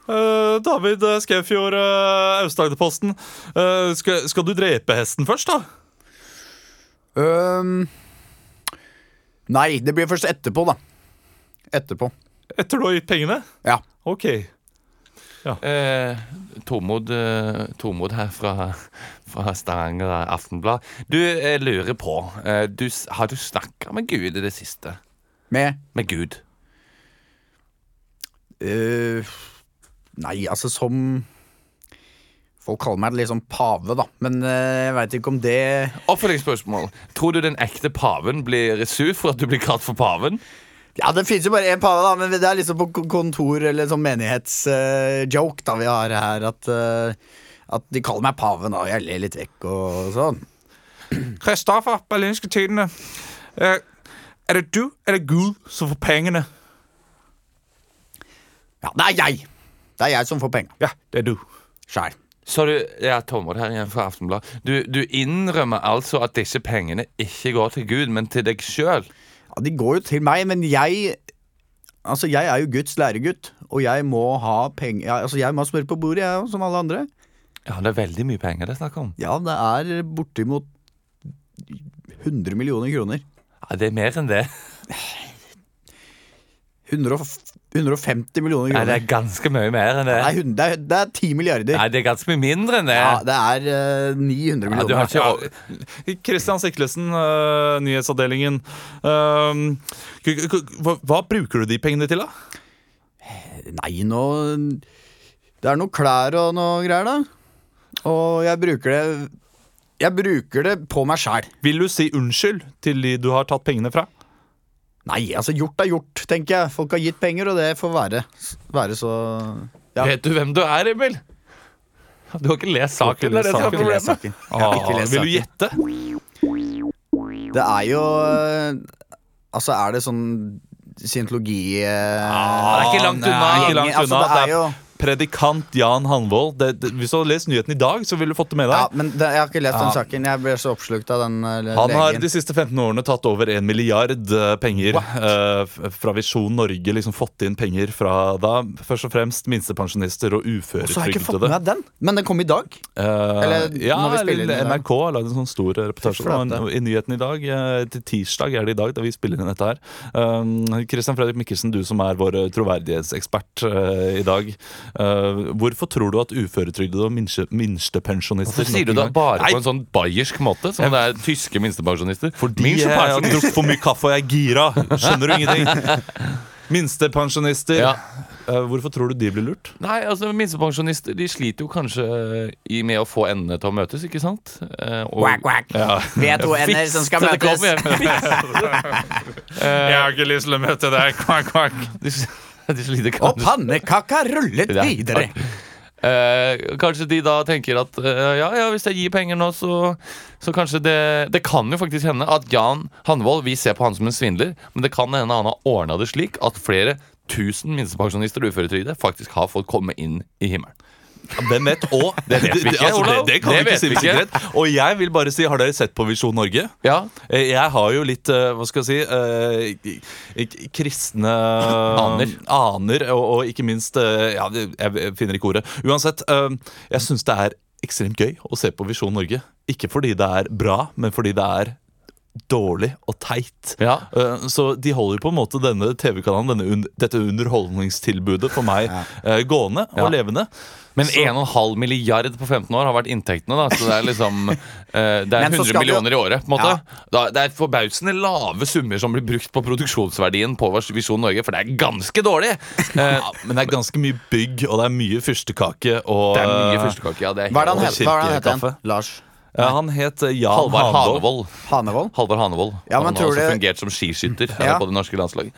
S1: Eh, David eh, Skaufjord, uh, Aust-Agderposten. Eh, skal, skal du drepe hesten først, da?
S3: Øhm, nei, det blir først etterpå, da. Etterpå.
S1: Etter du har gitt pengene?
S3: Ja.
S1: Ok.
S2: Eh, Tormod, eh, Tormod her fra, fra Stavanger Aftenblad. Du, jeg lurer på eh, du, s- Har du snakka med Gud i det siste?
S3: Med
S2: Med Gud?
S3: øh, Nei, altså som Folk kaller meg litt sånn pave, da. Men øh, jeg veit ikke om det
S2: Oppfølgingsspørsmål. Tror du den ekte paven blir sur for at du blir kalt for paven?
S3: Ja, det fins jo bare én pave, da, men det er liksom på kon- kontor eller sånn menighetsjoke da vi har her, at, øh, at de kaller meg paven, og jeg ler litt vekk og sånn.
S1: Kristoffer, Berlinske Tidende. Eh, er det du eller Gud som får pengene?
S3: Ja, det er jeg! Det er jeg som får penga.
S1: Ja, det er du.
S3: Sjæl.
S2: Så du, ja, Tormod her igjen fra Aftenblad. Du, du innrømmer altså at disse pengene ikke går til Gud, men til deg sjøl?
S3: Ja, de går jo til meg, men jeg Altså, jeg er jo Guds læregutt, og jeg må ha penger ja, Altså, jeg må ha smør på bordet, jeg òg, som alle andre.
S2: Ja, det er veldig mye penger det er snakk om.
S3: Ja, det er bortimot 100 millioner kroner.
S2: Ja, Det er mer enn det.
S3: 100 og f- 150 millioner
S2: Ja, det
S3: kroner.
S2: er ganske mye mer enn det.
S3: Nei, hun- det er, det er 10 milliarder.
S2: Nei, det er ganske mye mindre enn det.
S3: Ja, det er eh, 900
S2: Ja, du
S3: millioner.
S2: har ikke
S1: Ja, Kristian Siklesen, eh, nyhetsavdelingen. Ehm, k- k- k- hva, hva bruker du de pengene til, da?
S3: Nei, nå Det er noe klær og noe greier, da. Og jeg bruker det Jeg bruker det på meg sjæl.
S1: Vil du si unnskyld til de du har tatt pengene fra?
S3: Nei, altså gjort er gjort, tenker jeg. Folk har gitt penger, og det får være. Være så Ja.
S2: Vet du hvem du er, Emil? Du har ikke lest saken.
S1: Du har ikke
S2: det er det som er
S1: lest
S2: problemet.
S3: saken. Ja, ikke les
S1: vil du
S3: saken.
S1: gjette?
S3: Det er jo eh, Altså, er det sånn scientologi eh,
S2: Ah, det er ikke langt
S1: Nei,
S2: unna.
S1: ikke langt
S3: Altså,
S1: unna.
S3: det er
S1: Det er
S3: jo
S1: Predikant Jan Hanvold. Det, det, hvis du hadde lest nyheten i dag, så ville du fått det med deg.
S3: Ja, men det, jeg har ikke
S2: Ah.
S3: lest den
S1: Ja.
S3: saken. Jeg ble så oppslukt av den eh,
S1: Han har
S3: legen.
S1: de siste 15 årene tatt over 1 milliard eh, penger eh, f- fra Visjon Norge. liksom Fått inn penger fra da først og fremst minstepensjonister og
S3: Så har jeg ikke fått
S1: uføretrygdede.
S3: med meg den. Men den kom i dag.
S1: Eh,
S3: Eller
S1: ja,
S3: når vi spiller
S1: eller
S3: inn i dag.
S1: NRK har lagd en sånn stor reportasje.
S3: Fy flate.
S1: da, og I nyheten i dag, eh, til tirsdag er det i dag, da vi spiller inn dette her. Eh, Christian Fredrik Mikkelsen, du som er vår troverdighetsekspert eh, i dag. eh, hvorfor tror du at uføretrygdede og minste- minstepensjonister
S2: Hvorfor sier du
S1: nok en gang-
S2: det bare
S1: Nei,
S2: på en sånn bayersk måte? Som det er tyske minstepensjonister?
S1: Fordi
S2: eh,
S1: jeg har
S2: Minstepensjonist.
S1: drukket for mye kaffe og jeg er gira. Skjønner du ingenting? Minstepensjonister.
S2: Ja.
S1: Eh, Hvorfor tror du de blir lurt?
S2: Nei, altså Minstepensjonister de sliter jo kanskje i med å få endene til å møtes, ikke sant? Eh, og-
S4: Quack, quack. Vi er to ender som skal
S2: Så det
S4: møtes.
S2: kommer hjem.
S1: Jeg har ikke lyst til å møte deg. Kvakk, kvakk.
S2: De sl- de sliter
S4: Og
S2: kanskje
S4: pannekaka rullet
S2: Det er-
S4: videre.
S2: Eh, Kanskje de da tenker at eh, ja, ja, hvis jeg gir penger nå, så, så kanskje det Det kan jo faktisk hende at Jan Hanvold Vi ser på han som en svindler, men det kan hende han har ordna det slik at flere tusen minstepensjonister og uføretrygdede faktisk har fått komme inn i himmelen.
S1: Hvem vet? Og det
S2: vet vi ikke,
S1: altså, det,
S2: Olav.
S1: det kan
S2: Det
S1: vi ikke
S2: vet
S1: si
S2: vi
S1: med
S2: ikke.
S1: sikkerhet. Og jeg vil bare si, har dere sett på Visjon Norge?
S2: Ja,
S1: Eh, Jeg har jo litt, eh, hva skal jeg si eh, k- k- Kristne eh,
S2: Aner.
S1: aner, og, og ikke minst eh, ja, det- Jeg jeg finner ikke ordet. Uansett, eh, jeg syns det er ekstremt gøy å se på Visjon Norge. Ikke fordi det er bra, men fordi det er dårlig og teit.
S2: Ja.
S1: Eh, Så de holder på en måte denne TV-kanalen, denne un dette underholdningstilbudet for meg, eh, gående og
S2: Ja.
S1: levende.
S2: Men 1,5 milliard på 15 år har vært inntektene, da. Så det er liksom eh, Det er
S3: Men
S2: 100
S3: så skal vi jo-
S2: millioner i året, på en måte. Da, det er forbausende lave summer som blir brukt på produksjonsverdien på vår Visjon Norge, for det er ganske dårlig. Eh,
S1: Ja, men det er ganske mye bygg, og det er mye fyrstekake. Og,
S2: det er mye
S1: eh,
S2: fyrstekake. Ja, det er
S3: Hva er det han
S1: Og
S3: heter? Hva er det han heter
S1: kirkekaffe.
S3: igjen? Lars
S1: ja, han het eh, Jan
S2: Halvard
S1: Hanvold.
S2: Hanevold.
S3: Hanevold?
S2: Halvard Hanevold.
S3: Ja, men
S2: han har
S3: tror
S2: også
S3: du-
S2: fungert som skiskytter eh,
S3: Ja.
S2: på det norske landslaget.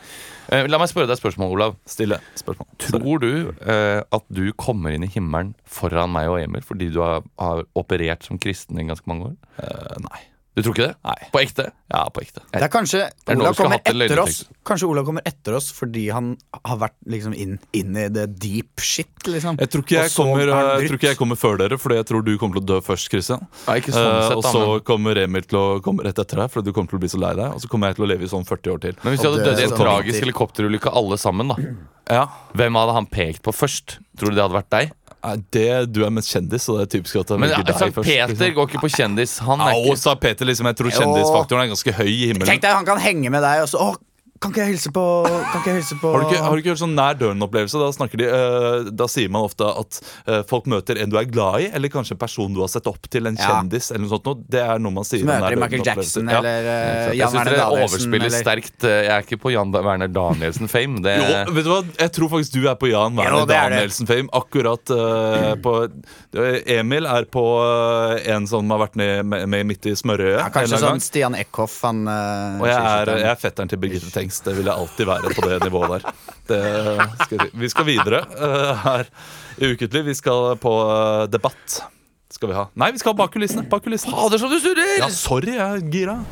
S2: Eh, la meg spørre deg et spørsmål, Olav.
S1: Stille spørsmål. Sorry.
S2: Tror du eh, at du kommer inn i himmelen foran meg og Emil fordi du har, har operert som kristen i ganske mange år?
S1: Eh, nei.
S2: Du tror ikke det?
S1: Nei.
S2: På ekte?
S1: Ja, på ekte.
S3: Det er kanskje
S2: er noe
S3: Ola
S2: vi skulle
S3: kommer
S2: hatt en
S3: etter oss
S2: løgndetektor.
S3: Kanskje Ola kommer etter oss fordi han har vært liksom inn, inn i det deep shit, liksom.
S1: Jeg tror, ikke jeg,
S3: Og så
S1: kommer,
S3: er han
S1: eh, jeg
S3: brutt.
S1: tror ikke jeg kommer før dere, Fordi jeg tror du kommer til å dø først. Christian
S2: Ja, ikke sånn
S1: Eh,
S2: sett,
S1: Og
S2: da,
S1: så
S2: men-
S1: kommer Emil til å komme rett etter deg, Fordi du kommer til å bli så lei deg. Og så kommer jeg til å leve i sånn 40 år til.
S2: Men hvis de
S3: Og
S2: hadde
S3: det-
S2: dødd i en
S3: så-
S2: tragisk helikopterulykke alle sammen, da
S1: Ja,
S2: hvem hadde han pekt på først? Tror du det hadde vært deg?
S1: Nei, det, Du er mest kjendis, så det er typisk at det
S2: Men ja,
S1: virker deg
S2: Sankt
S1: først.
S2: Peter
S1: liksom.
S2: går ikke på kjendis. Han er
S1: Au,
S2: ikke
S1: sa Peter. liksom Jeg tror kjendisfaktoren er ganske høy i
S3: Tenk
S1: himmelen.
S3: deg, han kan henge med deg og så Å, kan ikke jeg hilse på Kan ikke jeg hilse på
S1: Har du, ikke, har du ikke hørt sånn nær døden-opplevelse? Da, snakker de, eh, da sier man ofte at eh, folk møter en du er glad i, eller kanskje en person du har sett opp til, en
S3: Ja.
S1: kjendis. eller noe sånt. noe. Det er noe man sier. om nær
S3: Møter Michael
S1: døden-opplevelser.
S3: Jackson
S1: Ja.
S3: eller eh,
S2: Jeg
S3: Jan
S2: syns
S3: Werner
S2: dere
S3: Davidsen
S2: overspiller
S3: eller
S2: sterkt. eh, Jeg er ikke på Jan Da- Werner Danielsen-fame. Det
S1: Jo, vet du hva? Jeg tror faktisk du er på Jan Werner
S3: eh, Jo, det er det.
S1: Danielsen-fame. Akkurat eh, på Emil er på eh, en som har vært ned, med, med midt i smørøyet.
S3: ja,
S1: en eller
S3: Kanskje
S1: annen
S3: sånn
S1: gang.
S3: Stian Eckhoff, han eh,
S1: Og jeg er,
S3: skiskytteren.
S1: jeg er fetteren til Birgitte Tengs. Det vil jeg alltid være på det nivået der. Det skal jeg si. Vi skal videre eh, her i Ukentlig. Vi skal på eh, debatt. Skal vi ha. Nei, vi skal bak kulissene. Bak kulissene.
S2: Fader, som du surrer!
S1: Ja, sorry, jeg er gira.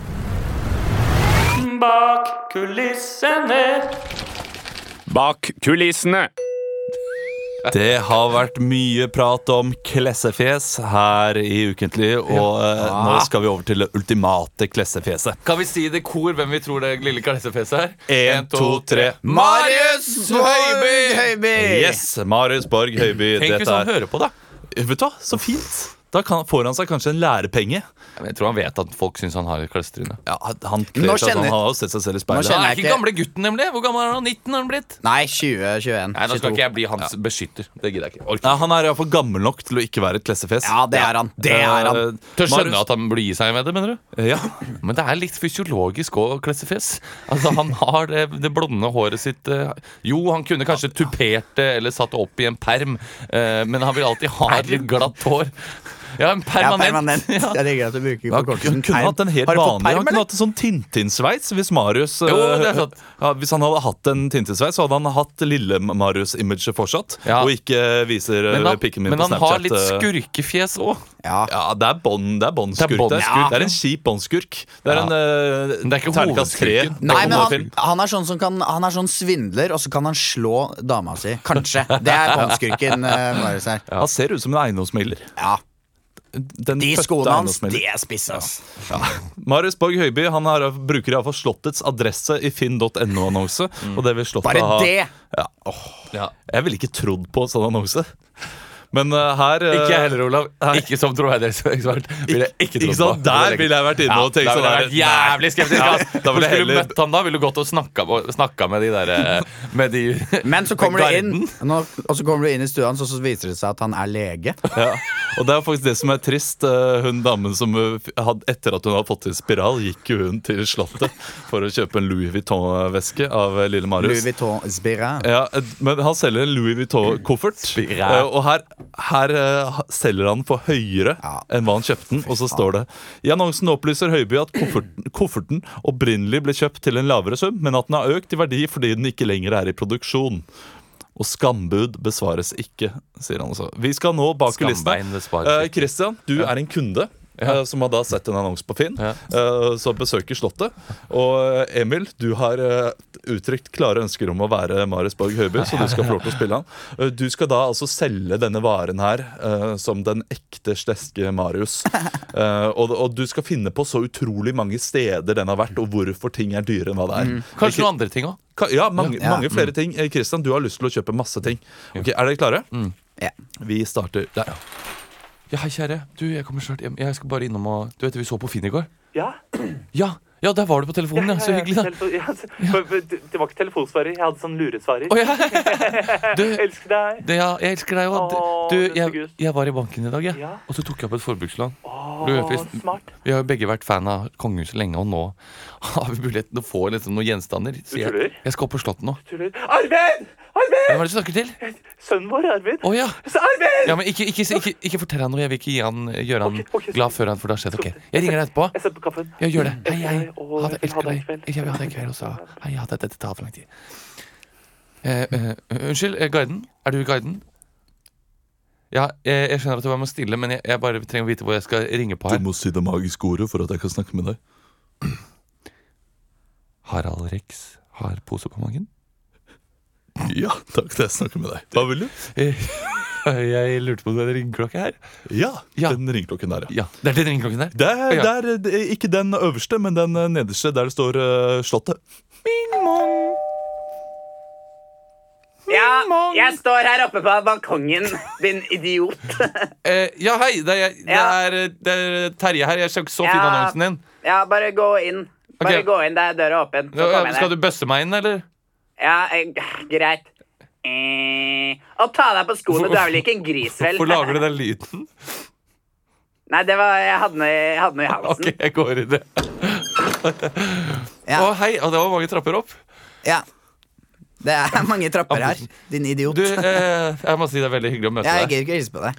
S6: Bak kulissene. Bak kulissene.
S1: Det har vært mye prat om klessefjes her i Ukentlig, og eh, nå skal vi over til det ultimate klessefjeset.
S2: Kan vi si det i kor hvem vi tror det lille klessefjeset er?
S1: En, to, tre.
S2: Marius Høiby!
S3: Høiby!
S1: Yes! Marius Borg Høiby.
S2: Tenk hvis
S1: Dette
S2: han
S1: er
S2: hører på, da.
S1: Vet du hva, så fint! Da kan, får han seg kanskje en lærepenge.
S2: Jeg tror han vet at folk syns han har et klessetryne.
S1: Ja, han
S3: Nå
S1: kler seg sånn.
S3: kjenner-
S1: Han har jo sett seg selv i
S3: Nå
S1: speilet.
S3: kjenner
S2: Han er
S3: jeg
S2: ikke
S3: ikke-
S2: gamle gutten, nemlig. Hvor gammel er han? 19 har han blitt?
S3: Nei, 2021.
S2: Nei, Da skal ikke jeg bli hans beskytter. Det gidder jeg ikke. Orker.
S1: Nei, han er iallfall gammel nok til å ikke være et klessefjes. Eh,
S3: Ja, det er han. Det er han.
S2: Tør skjønne at han burde gi seg med det, mener du?
S1: Ja,
S2: Men det er litt fysiologisk òg, klessefjes. Altså, han har det, det blonde håret sitt eh, Jo, han kunne kanskje tupert det eller satt det opp i en perm, eh, men han vil alltid ha et litt glatt hår. Ja, en
S3: Jeg er
S2: permanent.
S3: permanent. Jeg liker at du bruker
S1: han
S3: forkortelsen
S1: kunne
S3: perm.
S1: hatt en helt
S3: Har du fått
S1: vanlig Han
S3: perm,
S1: kunne
S3: eller?
S1: hatt en sånn Tintin-sveis hvis Marius eh,
S2: Jo, det er sant.
S1: ja, Hvis han hadde hatt en Tintin-sveis, så hadde han hatt lille-Marius-imaget fortsatt.
S2: Ja.
S1: Og ikke viser eh,
S2: Men han,
S1: pikken min
S2: men
S1: på
S2: han
S1: Snapchat.
S2: har litt
S1: eh.
S2: skurkefjes òg.
S3: Ja.
S1: Ja, det er bånd- det er båndskurk.
S2: Det er
S1: Det,
S2: båndskurk.
S1: det er en kjip båndskurk. Det er
S2: Ja.
S1: en uh,
S2: Men det er ikke
S1: terningkast tre.
S2: hovedskurken.
S3: Nei, men han,
S1: homofil.
S3: han er sånn som kan Han er sånn svindler, og så kan han slå dama si. Kanskje. Det er båndskurken eh, Marius her.
S1: Han ser ut som en eiendomsmegler.
S3: Ja.
S1: Den
S3: De
S1: fødte
S3: skoene hans,
S1: eiendomsmegler.
S3: de er spisse, ass.
S1: Marius Borg Høiby han har, bruker iallfall Slottets adresse i finn.no-annonse.
S2: Mm.
S1: Og det vil Slottet
S3: Bare
S1: ha
S3: det!
S1: Jeg ville ikke trodd på sånn annonse. Men eh, her eh,
S2: Ikke jeg heller, Olav. Ikke som troverdighetsekspert. Vil jeg ikke tro
S1: Ikke sant?
S2: på.
S1: Der ville jeg vært inne og tenkt
S2: da ville
S1: sånn
S2: jeg vært jævlig skeptisk.
S1: Ja,
S2: ass.
S1: da
S2: Hvor
S1: ville jeg
S2: skulle du
S1: heller-
S2: møtt han da? Ville du gått og snakka, snakka med de derre Med de
S3: Men så kommer du
S2: Garden.
S3: inn nå, Og så kommer du inn i stua hans, og så viser det seg at han er lege.
S1: ja. Og det er faktisk det som er trist. eh, Hun damen som eh, f- hadde, etter at hun hadde fått til spiral, gikk jo hun til Slottet for å kjøpe en Louis Vuitton-veske av eh, lille
S3: Louis
S1: Marius.
S3: Vuitton Spira.
S1: Ja, eh, men han selger en Louis Vuitton-koffert.
S2: Spiræ.
S1: eh, Og her, her eh, ha- selger han for høyere
S3: Ja.
S1: enn hva han kjøpte den. Og så står det I annonsen opplyser Høiby at kofferten, kofferten opprinnelig ble kjøpt til en lavere sum, men at den har økt i verdi fordi den ikke lenger er i produksjon. Og skambud besvares ikke, sier han altså. Vi skal nå bak
S2: Skambein
S1: kulissene.
S2: besvares
S1: Eh,
S2: ikke.
S1: Christian, du er en kunde. eh, Som har da sett en annonse på Finn,
S2: Ja.
S1: eh, som besøker Slottet. Og eh, Emil, du har eh, uttrykt klare ønsker om å være Marius Borg Høiby, så du skal få lov til å spille han. Eh, Du skal da altså selge denne varen her eh, som den ekte sleske Marius. Eh, Og, og du skal finne på så utrolig mange steder den har vært, og hvorfor ting er dyrere enn hva det er.
S2: Kanskje noen andre ting òg.
S1: Ka- Ja, mange,
S3: Ja.
S1: mange flere ting. Eh, Christian, du har lyst til å kjøpe masse ting. Ok, Er dere klare?
S3: Ja.
S1: Vi starter der.
S2: Ja, hei, kjære. Du, jeg kommer snart hjem. Jeg skal bare innom og Du vet vi så på Finn i går? Ja. Ja, Ja, der var du på telefonen, ja. Så
S7: Ja, ja,
S2: hyggelig, da.
S7: telefo- ja, for- for det- Det var ikke telefonsvarer. Jeg hadde sånn luresvarer.
S2: Å, ja. Du,
S7: Elsker deg.
S2: det, ja, jeg elsker deg òg.
S7: Å,
S2: Du,
S7: beste
S2: jeg,
S7: Gud.
S2: jeg var i banken i dag, jeg.
S7: Ja.
S2: Og så tok jeg opp et forbrukslån.
S7: Å,
S2: Du, forresten-
S7: smart.
S2: Vi har jo begge vært fan av kongehuset lenge, og nå har vi muligheten til å få liksom noen gjenstander. Så jeg,
S7: Tuller?
S2: jeg skal opp på Slottet nå.
S7: Tuller. Arvid! Arvid!
S2: Hvem er det du snakker til? Å
S7: Sønnen vår, Arvid.
S2: ja.
S7: Så Arvid!
S2: ja men ikke, ikke, ikke, ikke fortell han noe. Jeg vil ikke gi han, gjøre han
S7: Ok, ok, så-
S2: glad før han får det har skjedd. Ok, Jeg ringer deg etterpå.
S7: Jeg setter på kaffen.
S2: Ja, gjør det. Hei, hei.
S7: Elsker deg, og
S2: Ha det.
S7: jeg vil ha
S2: Elsker
S7: deg i
S2: deg.
S7: kveld.
S2: Jeg vil ha deg i kveld også. Hei, ha det. Dette tar for lang tid. Eh, eh, unnskyld, eh, guiden? Er du guiden? Ja, eh, jeg, jeg skjønner at du var med å stille, men jeg, jeg bare trenger å vite hvor jeg skal ringe på her.
S1: må si det magiske ordet for at jeg kan snakke med deg.
S2: Harald Rex har pose på magen.
S1: Ja, takk til jeg snakker med deg. Hva vil du?
S2: Eh, jeg lurte på om du hadde ringeklokke her.
S1: Ja,
S2: Ja.
S1: den ringeklokken der, ja.
S2: Ja, det er den ringeklokken der.
S1: Det er,
S2: Ja.
S1: det er, eh, det er ikke den øverste, men den eh, nederste der det står eh, Slottet.
S8: Ja, jeg står her oppe på balkongen, din idiot.
S2: Eh, ja, hei. Det er, jeg- det,
S8: Ja.
S2: er, eh, det er Terje her. Jeg så så fin
S8: Ja.
S2: annonsen din.
S8: Ja, bare gå inn. Bare
S2: Ok.
S8: gå inn, det er døra åpen. Så
S2: Ja,
S8: kom jeg
S2: Skal
S8: ned.
S2: du bøsse meg inn, eller?
S8: Ja, eh, greit. Eh, Og ta deg på skoene, du er vel ikke en gris, vel?
S2: Hvorfor lager du den lyden?
S8: Nei, det var, jeg hadde noe, jeg hadde noe i halsen.
S2: Ok, jeg går i det.
S3: Ja.
S2: Å, hei, og det var mange trapper opp.
S3: Ja. Det er mange trapper her, din idiot.
S2: Du, eh, jeg må si det er veldig hyggelig å møte
S3: jeg
S2: deg.
S3: gidder ikke hilse på deg.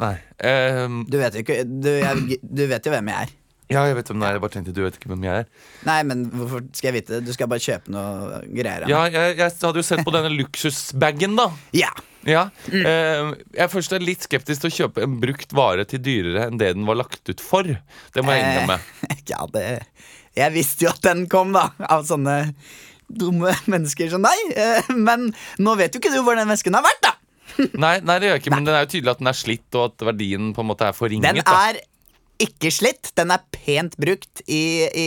S2: Nei. ehm,
S3: Du vet jo, ikke, du, jeg, du vet jo hvem jeg er.
S2: ja, jeg vet hvem det er. Jeg bare tenkte du vet ikke hvem jeg er.
S3: Nei, men hvorfor skal jeg vite det? Du skal bare kjøpe noe greier. av
S2: Ja,
S3: meg.
S2: jeg, jeg hadde jo sett på denne luksusbagen, da.
S3: ja.
S2: Ja. ehm, jeg først er litt skeptisk til å kjøpe en brukt vare til dyrere enn det den var lagt ut for. Det må jeg innrømme.
S3: Eh, ja, det Jeg visste jo at den kom, da. Av sånne dumme mennesker som deg. Eh, Men nå vet jo ikke du hvor den vesken har vært, da.
S2: Nei, nei, det gjør jeg ikke, men den er jo tydelig at den er slitt, og at verdien på en måte er
S3: Den
S2: forringet. da.
S3: er ikke slitt. Den er pent brukt i, i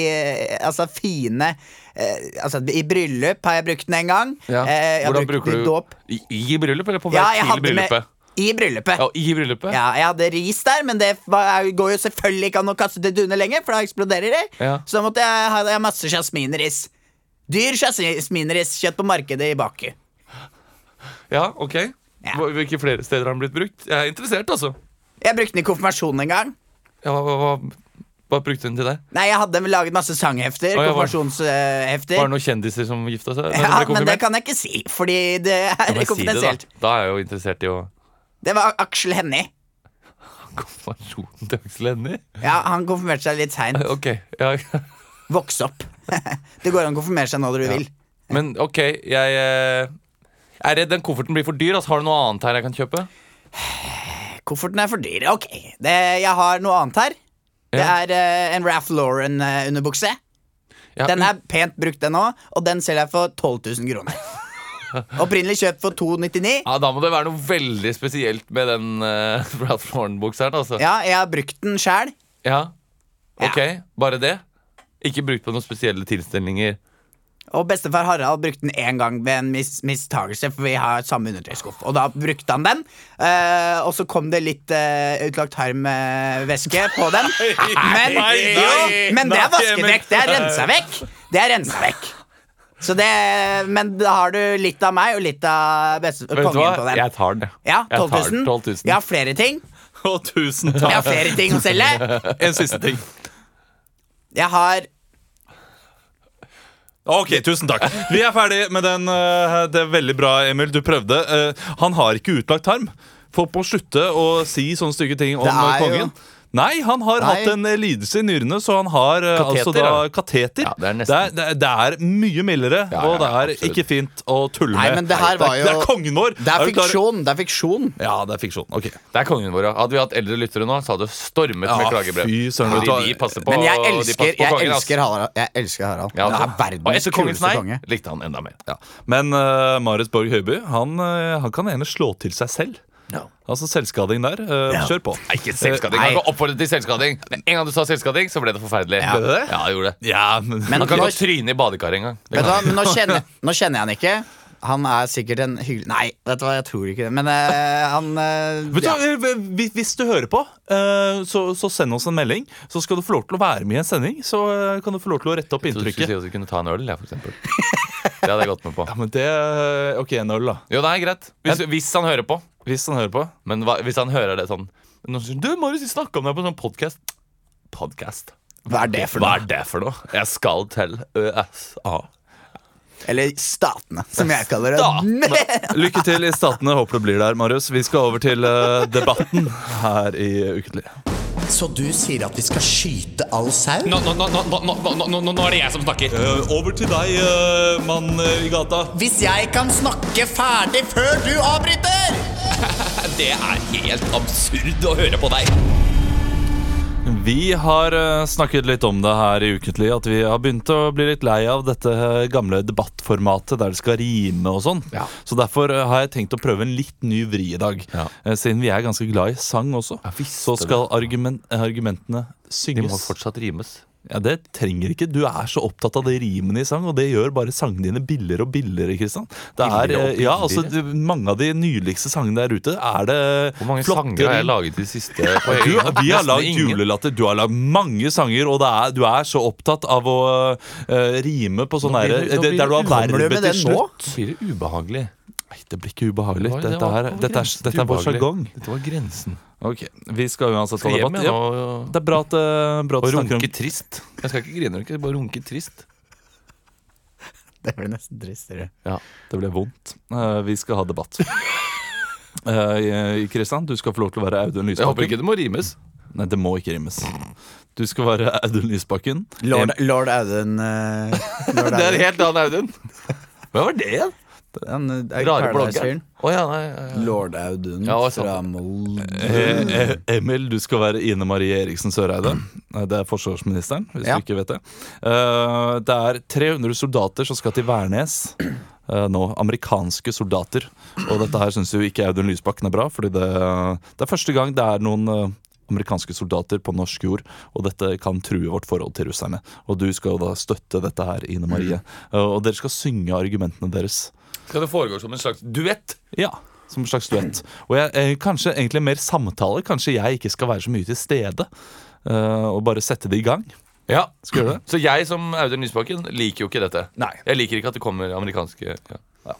S3: Altså fine eh, Altså I bryllup har jeg brukt den en gang.
S2: Ja.
S3: Eh, jeg har
S2: Hvordan
S3: brukt
S2: bruker
S3: den i
S2: du
S3: Dåp.
S2: I, I bryllup, eller på vei
S3: Ja, jeg
S2: til
S3: hadde med
S2: bryllupet?
S3: I bryllupet.
S2: Ja, i bryllupet?
S3: Ja, jeg hadde ris der, men det var- er- går jo selvfølgelig ikke an å kaste til dune lenger, for da eksploderer det.
S2: Ja.
S3: Så da måtte jeg ha jeg har masse jasminris. Dyr jasminris. Kjøtt på markedet i Baku.
S2: Ja, ok.
S3: Ja.
S2: Hva- Hvilke flere steder har den blitt brukt? Jeg er interessert, altså.
S3: Jeg brukte den i konfirmasjonen en gang.
S2: Ja, hva, hva, hva, hva brukte den til der?
S3: Nei, jeg hadde laget masse
S2: Å,
S3: sanghefter.
S2: ja, var-
S3: konfirmasjonshefter.
S2: Var det noen kjendiser som gifta seg? Nei,
S3: Ja,
S2: ble
S3: men
S2: konfirmert?
S3: det kan jeg ikke si, fordi det er
S2: Ja, men si det, da.
S3: konfidensielt.
S2: Da er jeg jo interessert i å
S3: Det var Aksel Hennie.
S2: Konfirmasjonen til Aksel Hennie?
S3: Ja, han konfirmerte seg litt seint.
S2: Ok, ja.
S3: Vokse opp. det går an å konfirmere seg når du vil.
S2: Men ok, jeg eh, jeg er redd den kofferten blir for dyr. Altså, har du noe annet her jeg kan kjøpe?
S3: Kofferten er for dyr. Ok, det, jeg har noe annet her. Det
S2: Ja.
S3: er eh, en Ralph Lauren-underbukse.
S2: Ja,
S1: mm.
S3: Den er pent brukt, den òg, og den selger jeg for 12 000 kroner. Opprinnelig kjøpt for 299.
S2: ja, Da må det være noe veldig spesielt med den uh, Ralph Lauren-bukseren. Altså.
S3: Ja, jeg har brukt den sjæl.
S2: Ja.
S3: Ja.
S2: Ok, bare det? Ikke brukt på noen spesielle tilstelninger?
S3: Og bestefar Harald brukte den én gang ved en mis mistagelse, for vi har samme undertøyskuff. Og da brukte han den, eh, og så kom det litt eh, utlagt harmvæske på den. Men,
S1: nei,
S3: jo,
S1: nei,
S3: men det er
S1: nei,
S3: vasket
S1: men-
S3: vekk. Det er rensa vekk. Det er rensa vekk. Så det, men da har du litt av meg og litt av beste,
S2: Vet du
S3: kongen på
S2: hva?
S3: den.
S2: Jeg tar den. jeg.
S3: Ja,
S2: Jeg
S3: 12
S2: tar
S3: 000.
S2: 12 000.
S3: Jeg har flere ting.
S1: Og tusen
S3: Jeg
S1: takk.
S3: har flere ting å selge.
S1: En siste ting.
S3: Jeg har
S1: Ok, tusen takk. Vi er ferdig med den. eh, Det er veldig bra, Emil. Du prøvde. Eh, Han har ikke utlagt tarm. Folk må slutte å si sånne stygge ting om
S3: Det er
S1: eh, kongen.
S3: jo-
S1: Nei, han har
S3: Nei.
S1: hatt en eh, lidelse i nyrene, så han har eh,
S2: Kateter,
S1: altså da,
S2: da.
S1: kateter.
S2: Ja, det er nesten-
S1: det, er, det, er, det er mye mildere,
S2: Ja,
S1: og det
S2: ja,
S1: er
S2: absolutt.
S1: ikke fint å tulle
S3: Nei,
S1: med.
S3: men det her
S1: Nei,
S3: var
S1: er-
S3: jo
S1: det er kongen vår!
S3: Det er
S1: du klar-
S3: fiksjon. Det er fiksjon.
S1: Ja, det er fiksjon. Ok.
S2: Det er kongen vår, ja. Hadde vi hatt eldre lyttere nå, så hadde det stormet
S1: Ja,
S2: med klagebrev.
S1: fy søren, vet du hva?
S2: Fordi de passer på,
S3: Men jeg
S2: de
S3: elsker,
S2: passer på
S3: jeg
S2: kongen. ass.
S3: elsker Harald. Jeg elsker Harald.
S2: Ja,
S3: Han
S2: altså.
S3: er
S2: og
S3: verdens
S2: etter kongens nei
S3: kuleste konge.
S2: likte han enda mer.
S1: Ja. Men eh, Marit Borg Høiby han, eh, han kan gjerne slå til seg selv. Altså selvskading der. eh, Kjør på.
S2: Nei, ikke selvskading.
S3: Nei.
S2: Han kan oppfordre til selvskading. Men en gang du sa selvskading, så ble det forferdelig.
S1: Ble det det?
S2: Ja, det gjorde det.
S1: Ja, men,
S3: Men-
S2: Han kan
S3: nå-
S2: godt tryne i badekaret en gang. Det kan
S3: Vet du hva,
S2: han.
S3: men nå kjenner, nå kjenner jeg han ikke. Han er sikkert en hyggelig Nei, vet du hva, jeg tror ikke det. Men eh, han eh,
S1: Vet du,
S3: ja.
S1: eh, hvis- Hvis du hører på, eh, så, så send oss en melding. Så skal du få lov til å være med i en sending. Så eh, kan du få lov til å rette opp
S2: Så du
S1: inntrykket.
S2: skulle si at vi kunne ta en øl, jeg, for eksempel. Det hadde jeg gått med på.
S1: Ja, men det eh, Ok, en øl, da.
S2: Jo, det er greit. Hvis, hvis han hører på.
S1: Hvis han hører på.
S2: Men hva, hvis han hører det sånn Noen sier, Du, Marius, vi snakka om deg på en sånn podkast. Podkast.
S3: Hva er det for
S2: Hva
S3: noe?
S2: er det for noe? Jeg skal til USA.
S3: Eller Statene, som jeg kaller det.
S1: Da. Lykke til i Statene. Håper du blir der, Marius. Vi skal over til eh, debatten her i Ukentlig.
S9: Så du sier at vi skal skyte all sau?
S6: Nå, nå, nå, nå, nå, nå, nå, nå er det jeg som snakker.
S1: Eh, over til deg, eh, mann i gata.
S9: Hvis jeg kan snakke ferdig før du avbryter!
S6: Det er helt absurd å høre på deg.
S1: Vi har eh, snakket litt om det her i Ukentlig, at vi har begynt å bli litt lei av dette eh, gamle debattformatet der det skal rime og sånn. Så derfor eh, har jeg tenkt å prøve en litt ny vri i dag.
S2: Ja.
S1: Eh, Siden vi er ganske glad i sang også, så skal argumen- eh, argumentene
S2: De må
S1: synges.
S2: fortsatt rimes.
S1: Ja, Det trenger ikke. Du er så opptatt av de rimene i sang, og det gjør bare sangene dine billigere og billigere. Kristian Det er,
S2: Billigere og
S1: eh, ja, altså
S2: billigere?
S1: du- Mange av de nyligste sangene der ute er det
S2: Hvor mange
S1: flotte
S2: sanger har jeg
S1: rim.
S2: laget de siste på
S1: Du,
S2: egen hånd?
S1: vi har
S2: Nesten
S1: lagd
S2: ingen.
S1: julelatter. Du har lagd mange sanger, og det er, du er så opptatt av å eh, rime på sånn
S2: Nå
S1: derre
S2: blir det- nå
S1: Der
S2: blir
S1: du har
S2: det- Kommer
S3: Kommer du
S1: verbet
S3: med det
S1: til
S3: nå?
S1: slutt.
S2: Så blir det ubehagelig.
S1: Nei, det blir ikke ubehagelig.
S2: Oi, det
S1: Dette,
S2: var
S1: her,
S2: på
S1: dette, er,
S2: grensen til
S1: dette er vår
S2: ubehagelig.
S1: sjargong.
S2: Dette var grensen.
S1: Ok, Vi skal uansett ha
S2: Skal hjem
S1: debatt.
S2: igjen
S1: Ja.
S2: og,
S1: Det er bra at, eh, bra at
S2: og
S1: du snakker om
S2: runke trist. Jeg skal ikke grine, jeg skal bare runke trist.
S3: Det blir nesten tristere.
S1: Det ble vondt. Eh, vi skal ha debatt. Eh, Kristian, du skal få lov til å være Audun
S2: Jeg håper ikke
S1: Lysbakken.
S2: det må rimes.
S1: Nei, det må ikke rimes. Du skal være Audun Lysbakken.
S3: Lord, Lord Audun eh, Lord
S2: Det er
S3: Audun.
S2: helt annen Audun. Hva var det igjen?
S3: Han eh, er
S2: Rare bloggeren.
S3: Paradise-fyren.
S2: Å ja, nei, ja, ja.
S3: Lord Audun
S2: Ja, og
S3: fra
S2: sånn.
S3: Molde.
S1: Eh, eh, Emil, du skal være Ine Marie Eriksen Søreide. Eh, Det er forsvarsministeren, hvis
S3: Ja.
S1: du ikke vet det. Eh, det er 300 soldater som skal til Værnes. eh, nå, Amerikanske soldater. Og dette her syns jo ikke Audun Lysbakken er bra, fordi det, det er første gang det er noen eh, amerikanske soldater på norsk jord, og dette kan true vårt forhold til russerne. Og du skal jo da støtte dette her, Ine Marie. Eh, og dere skal synge argumentene deres.
S2: Skal det foregå som en slags duett?
S1: Ja, som en slags duett. Og jeg, eh, kanskje egentlig mer samtale. Kanskje jeg ikke skal være så mye til stede. eh, og bare sette det i gang.
S2: Ja.
S1: Skal vi gjøre det?
S2: Så jeg som Audun Lysbakken liker jo ikke dette.
S1: Nei.
S2: Jeg liker ikke at det kommer amerikanske ja.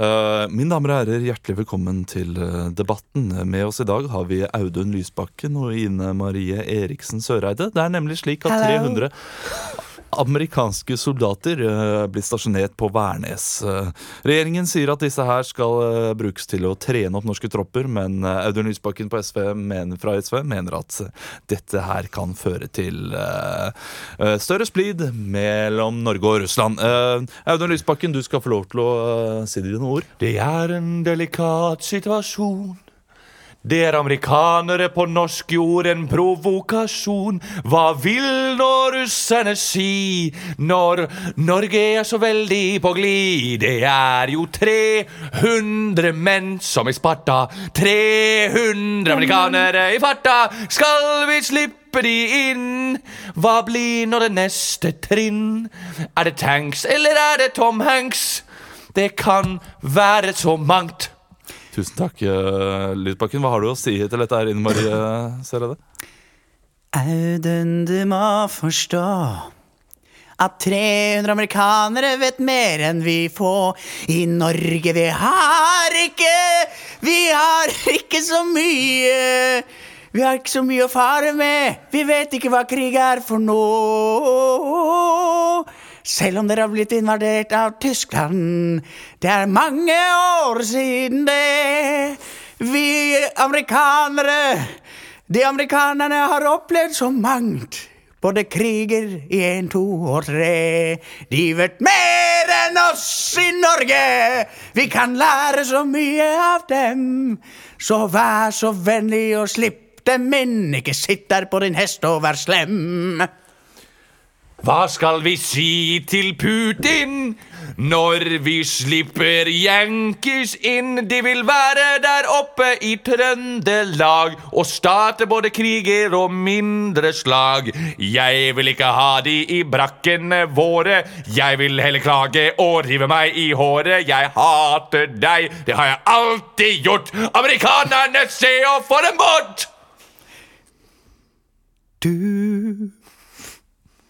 S1: Eh, mine damer og herrer, hjertelig velkommen til eh, debatten. Med oss i dag har vi Audun Lysbakken og Ine Marie Eriksen Søreide. Det er nemlig slik at 300 amerikanske soldater eh, blir stasjonert på Værnes. Eh, regjeringen sier at disse her skal eh, brukes til å trene opp norske tropper, men eh, Audun Lysbakken på SV mener, fra SV mener at eh, dette her kan føre til eh, eh, større splid mellom Norge og Russland. Eh, Audun Lysbakken, du skal få lov til å eh, si dine ord.
S2: Det er en delikat situasjon. Det er amerikanere på norsk jord, en provokasjon. Hva vil nå russerne si når Norge er så veldig på glid? Det er jo 300 menn som i Sparta. 300 amerikanere i farta. Skal vi slippe de inn? Hva blir nå det neste trinn? Er det tanks, eller er det Tom Hanks? Det kan være så mangt.
S1: Tusen takk, eh, Lysbakken. Hva har du å si til dette her, Ine Marie Søreide?
S3: Audun, du må forstå at 300 amerikanere vet mer enn vi få. I Norge vi har ikke Vi har ikke så mye. Vi har ikke så mye å fare med. Vi vet ikke hva krig er for noe. Selv om dere har blitt invadert av Tyskland. Det er mange år siden det. Vi amerikanere de amerikanerne har opplevd så mangt. Både kriger i én, to og tre. De vet mer enn oss i Norge! Vi kan lære så mye av dem. Så vær så vennlig og slipp dem inn. Ikke sitt der på din hest og vær slem.
S7: Hva skal vi si til Putin når vi slipper Yankees inn? De vil være der oppe i Trøndelag og starte både kriger og mindre slag. Jeg vil ikke ha de i brakkene våre. Jeg vil heller klage og rive meg i håret. Jeg hater deg, det har jeg alltid gjort. Amerikanerne, se å få dem bort!
S3: Du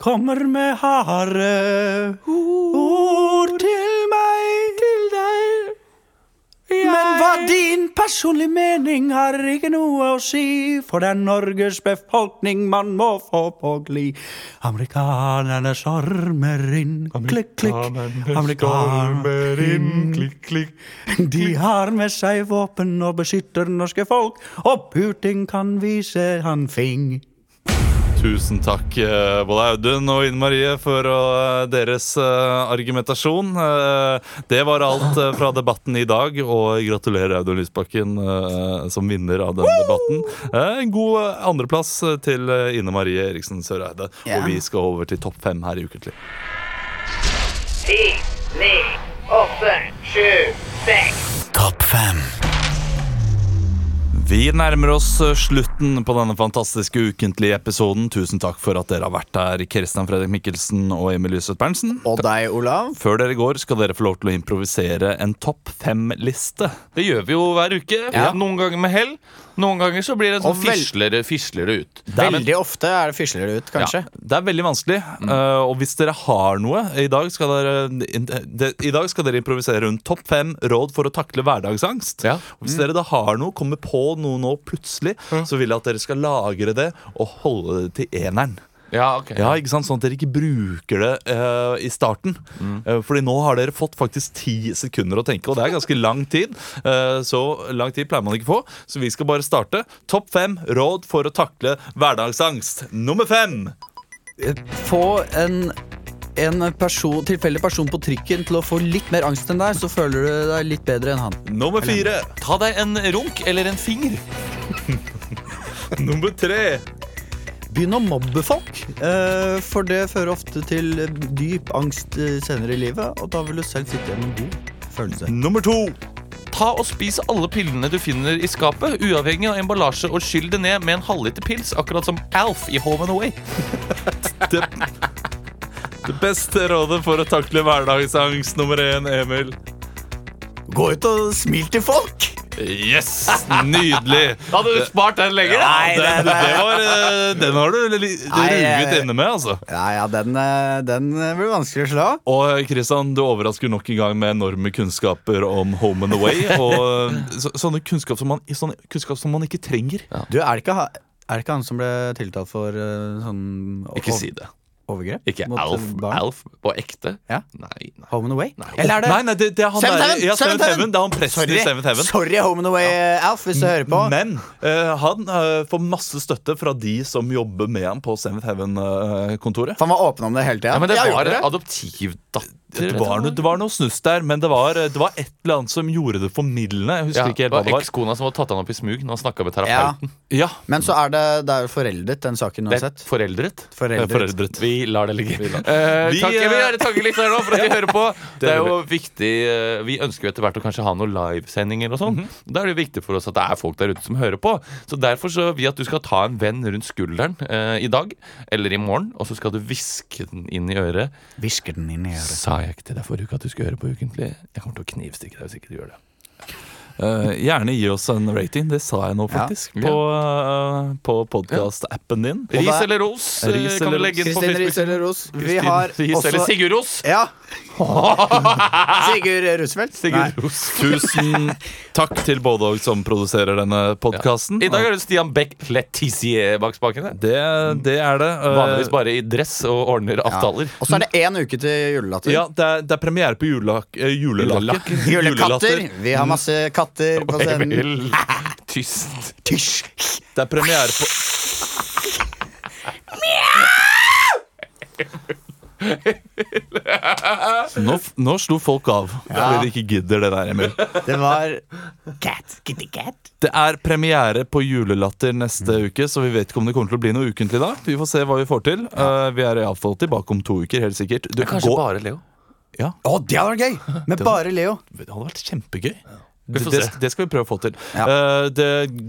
S3: kommer med harde ord til meg. Til deg. Men hva din personlige mening har ikke noe å si, for det er Norges befolkning man må få på gli. Amerikanerne stormer inn, klikk, klikk. Amerikanerne
S7: inn, klikk, klikk.
S3: de har med seg våpen og beskytter norske folk, og Putin kan vise han fing.
S1: Tusen takk, eh, både Audun og Ine Marie, for eh, deres eh, argumentasjon. Eh, Det var alt eh, fra debatten i dag, og gratulerer Audun Lysbakken eh, som vinner av den debatten. Eh, En god eh, andreplass eh, til eh, Ine Marie Eriksen Søreide. Og vi skal over til topp fem her i Ukentlig.
S8: Ti, ni, åtte, sju, seks.
S1: Vi nærmer oss eh, slutten på denne fantastiske ukentlige episoden. Tusen takk for at dere har vært her, Kristian Fredrik Mikkelsen og Emil Lyseth Berntsen.
S3: Og deg, Olav?
S1: Før dere går, skal dere få lov til å improvisere en topp fem-liste.
S7: Det gjør vi jo hver uke. Noen ganger med hell. Noen ganger så blir det en
S3: Og
S7: sånn
S3: vel-
S7: fislere, fislere ut.
S3: Veldig Mm. ofte er det fisler det ut, kanskje.
S1: Det er veldig vanskelig. eh, og hvis dere har noe I dag skal dere, in- de, i dag skal dere improvisere rundt topp fem råd for å takle hverdagsangst.
S7: Ja.
S1: Og hvis dere da har noe, kommer på noe nå plutselig, så vil jeg at dere skal lagre det og holde det til eneren.
S7: Ja, ok
S1: Ja, ikke sant? Sånn at dere ikke bruker det eh, i starten. Eh, fordi nå har dere fått faktisk ti sekunder å tenke, og det er ganske lang tid. Eh, så lang tid pleier man ikke å få, så vi skal bare starte. Topp fem råd for å takle hverdagsangst. Nummer fem.
S10: Få en, en person, tilfeldig person på trikken til å få litt mer angst enn deg, så føler du deg litt bedre enn han.
S1: Nummer fire.
S7: Ta deg en runk eller en finger.
S1: Nummer tre.
S10: Begynn å mobbe folk, eh, for det fører ofte til dyp angst eh, senere i livet, og da vil du selv sitte igjen med en god følelse.
S1: Nummer to.
S7: Ta og Spis alle pillene du finner i skapet, uavhengig av emballasje, og skyll det ned med en halvliter pils, akkurat som Alf i Home and Away.
S1: Det, det beste rådet for å takle hverdagsangst. Nummer én, Emil.
S2: Gå ut og smil til folk!
S1: Yes! Nydelig.
S7: Hadde du spart den lenger?
S1: Nei, det, det, var, eh, den har du li-
S2: Nei,
S1: ruget
S2: jeg-
S1: inne med, altså.
S2: Ja, ja, den, eh, den eh, blir vanskelig å slå.
S1: Og Kristian, du overrasker nok en gang med enorme kunnskaper om Home and Away. Og eh, så, sånne kunnskap som, man, sånne kunnskap som man ikke trenger.
S2: Du, er det ikke, ha- er det ikke han som ble tiltalt for eh, sånn o-
S7: Ikke si det.
S2: overgrep?
S7: Ikke
S2: mot
S7: Alf,
S2: barn?
S7: Alf på ekte.
S2: Ja.
S7: Nei, nei.
S2: Home and Away? Eller er det
S1: Nei, nei, det, det er han
S2: Seventh
S1: der,
S2: Heaven,
S1: ja, Seventh Heaven.
S2: Seventh Heaven.
S1: Det er han presten i Seventh
S2: Sorry,
S1: Heaven.
S2: sorry Home and Away, eh, Alf, hvis du hører på.
S7: Mm.
S1: Men eh, han eh, får masse støtte fra de som jobber med ham på eh, Seventh Heaven-kontoret.
S2: For han var åpen om det hele tida.
S7: Ja, men det
S2: Jeg har
S7: var
S2: gjort
S7: en adoptivdatter.
S1: det, var noe, det var noe snuss der, men det var, eh, det var et eller annet som gjorde det formildende. Jeg husker
S7: ja,
S1: ikke
S7: det
S1: helt hva
S7: var
S1: det var.
S7: ekskona som hadde tatt han opp i smug når han snakka
S2: Ja.
S7: med terapeuten.
S1: Ja,
S2: Men så er det, det er jo foreldet, den saken
S7: Det er
S2: uansett.
S7: foreldret.
S1: eh,
S2: Foreldet.
S1: foreldret.
S7: Vi lar det ligge.
S1: Vi,
S7: Vi, takk, jeg vil
S1: eh,
S7: gjerne takke lytterne nå for at de hører på. Det er
S1: gjør
S7: jo viktig eh, Vi ønsker jo etter hvert å kanskje ha noen livesendinger og sånn. Da er det jo viktig for oss at det er folk der ute som hører på. Så derfor så vil jeg at du skal ta en venn rundt skulderen eh, i dag eller i morgen, og så skal du hviske den inn i øret.
S2: Hvisker den inn i øret.
S7: Sa jeg ikke til deg forrige uke at du skulle høre på Ukentlig? Jeg kommer til å knivstikke deg hvis ikke du gjør det.
S1: Eh, gjerne gi oss en rating. Det sa jeg nå, faktisk. På, uh, på podkast-appen din.
S7: Ris eller ros eh,
S1: Ris
S7: kan
S1: eller
S7: du legge inn på
S2: Kristin Riis
S7: Facebook.
S2: eller Ros. Vi
S7: Kristin
S2: har
S7: Ris eller
S2: også
S7: Sigurd Ros.
S2: Ja. Sigurd Roosevelt? Nei.
S7: Sigurd Ros.
S1: Tusen takk til både og som produserer denne podkasten.
S7: I dag er det Stian Beck Letizier bak spakene.
S1: det, det er det. Eh,
S7: Vanligvis bare i dress og ordner avtaler.
S2: Og så er det én uke til julelatter.
S1: ja, det, er, det er premiere på julelak, eh, julelaker.
S2: Julekatter.
S1: Julelatter.
S2: Vi har masse katter på scenen.
S7: Emil. Tyst.
S2: Tysj!
S1: Det er premiere på Nå, f- nå slo folk av fordi de ikke gidder det der, Emil.
S2: Det var
S4: Cat, kitty cat.
S1: Det er premiere på Julelatter neste
S2: Mm.
S1: uke, så vi vet ikke om det kommer til å bli noe ukentlig da. Vi får se hva vi får til. Eh, vi er iallfall tilbake om to uker, helt sikkert. Du,
S2: Kanskje
S1: gå-
S2: bare Leo.
S3: Å, det hadde vært gøy! Med bare Leo.
S1: Det hadde vært kjempegøy.
S2: Vi
S1: Det,
S2: får
S1: det,
S2: se.
S1: det skal vi prøve å få til. Eh, det,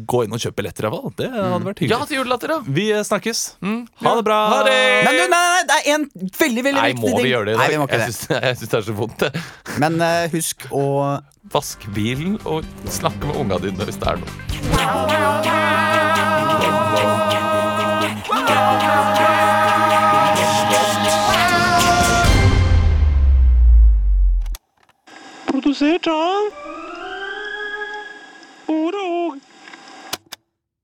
S1: gå inn og kjøp billetter, iallfall. Det hadde vært hyggelig.
S2: Mm. Ja, til julelatter, da!
S1: Vi eh, snakkes. Ha det bra.
S2: Ha det!
S3: Men du, nei, nei, det er en veldig, veldig
S2: Nei,
S3: viktig
S2: må
S3: ting.
S2: vi gjøre det i dag?
S3: Nei, vi må ikke
S2: jeg
S3: det.
S2: syns- jeg syns det er så vondt. det.
S3: Men eh, husk å
S2: Vask bilen og snakke med unga dine hvis det er noe.
S8: Cow, cow, cow.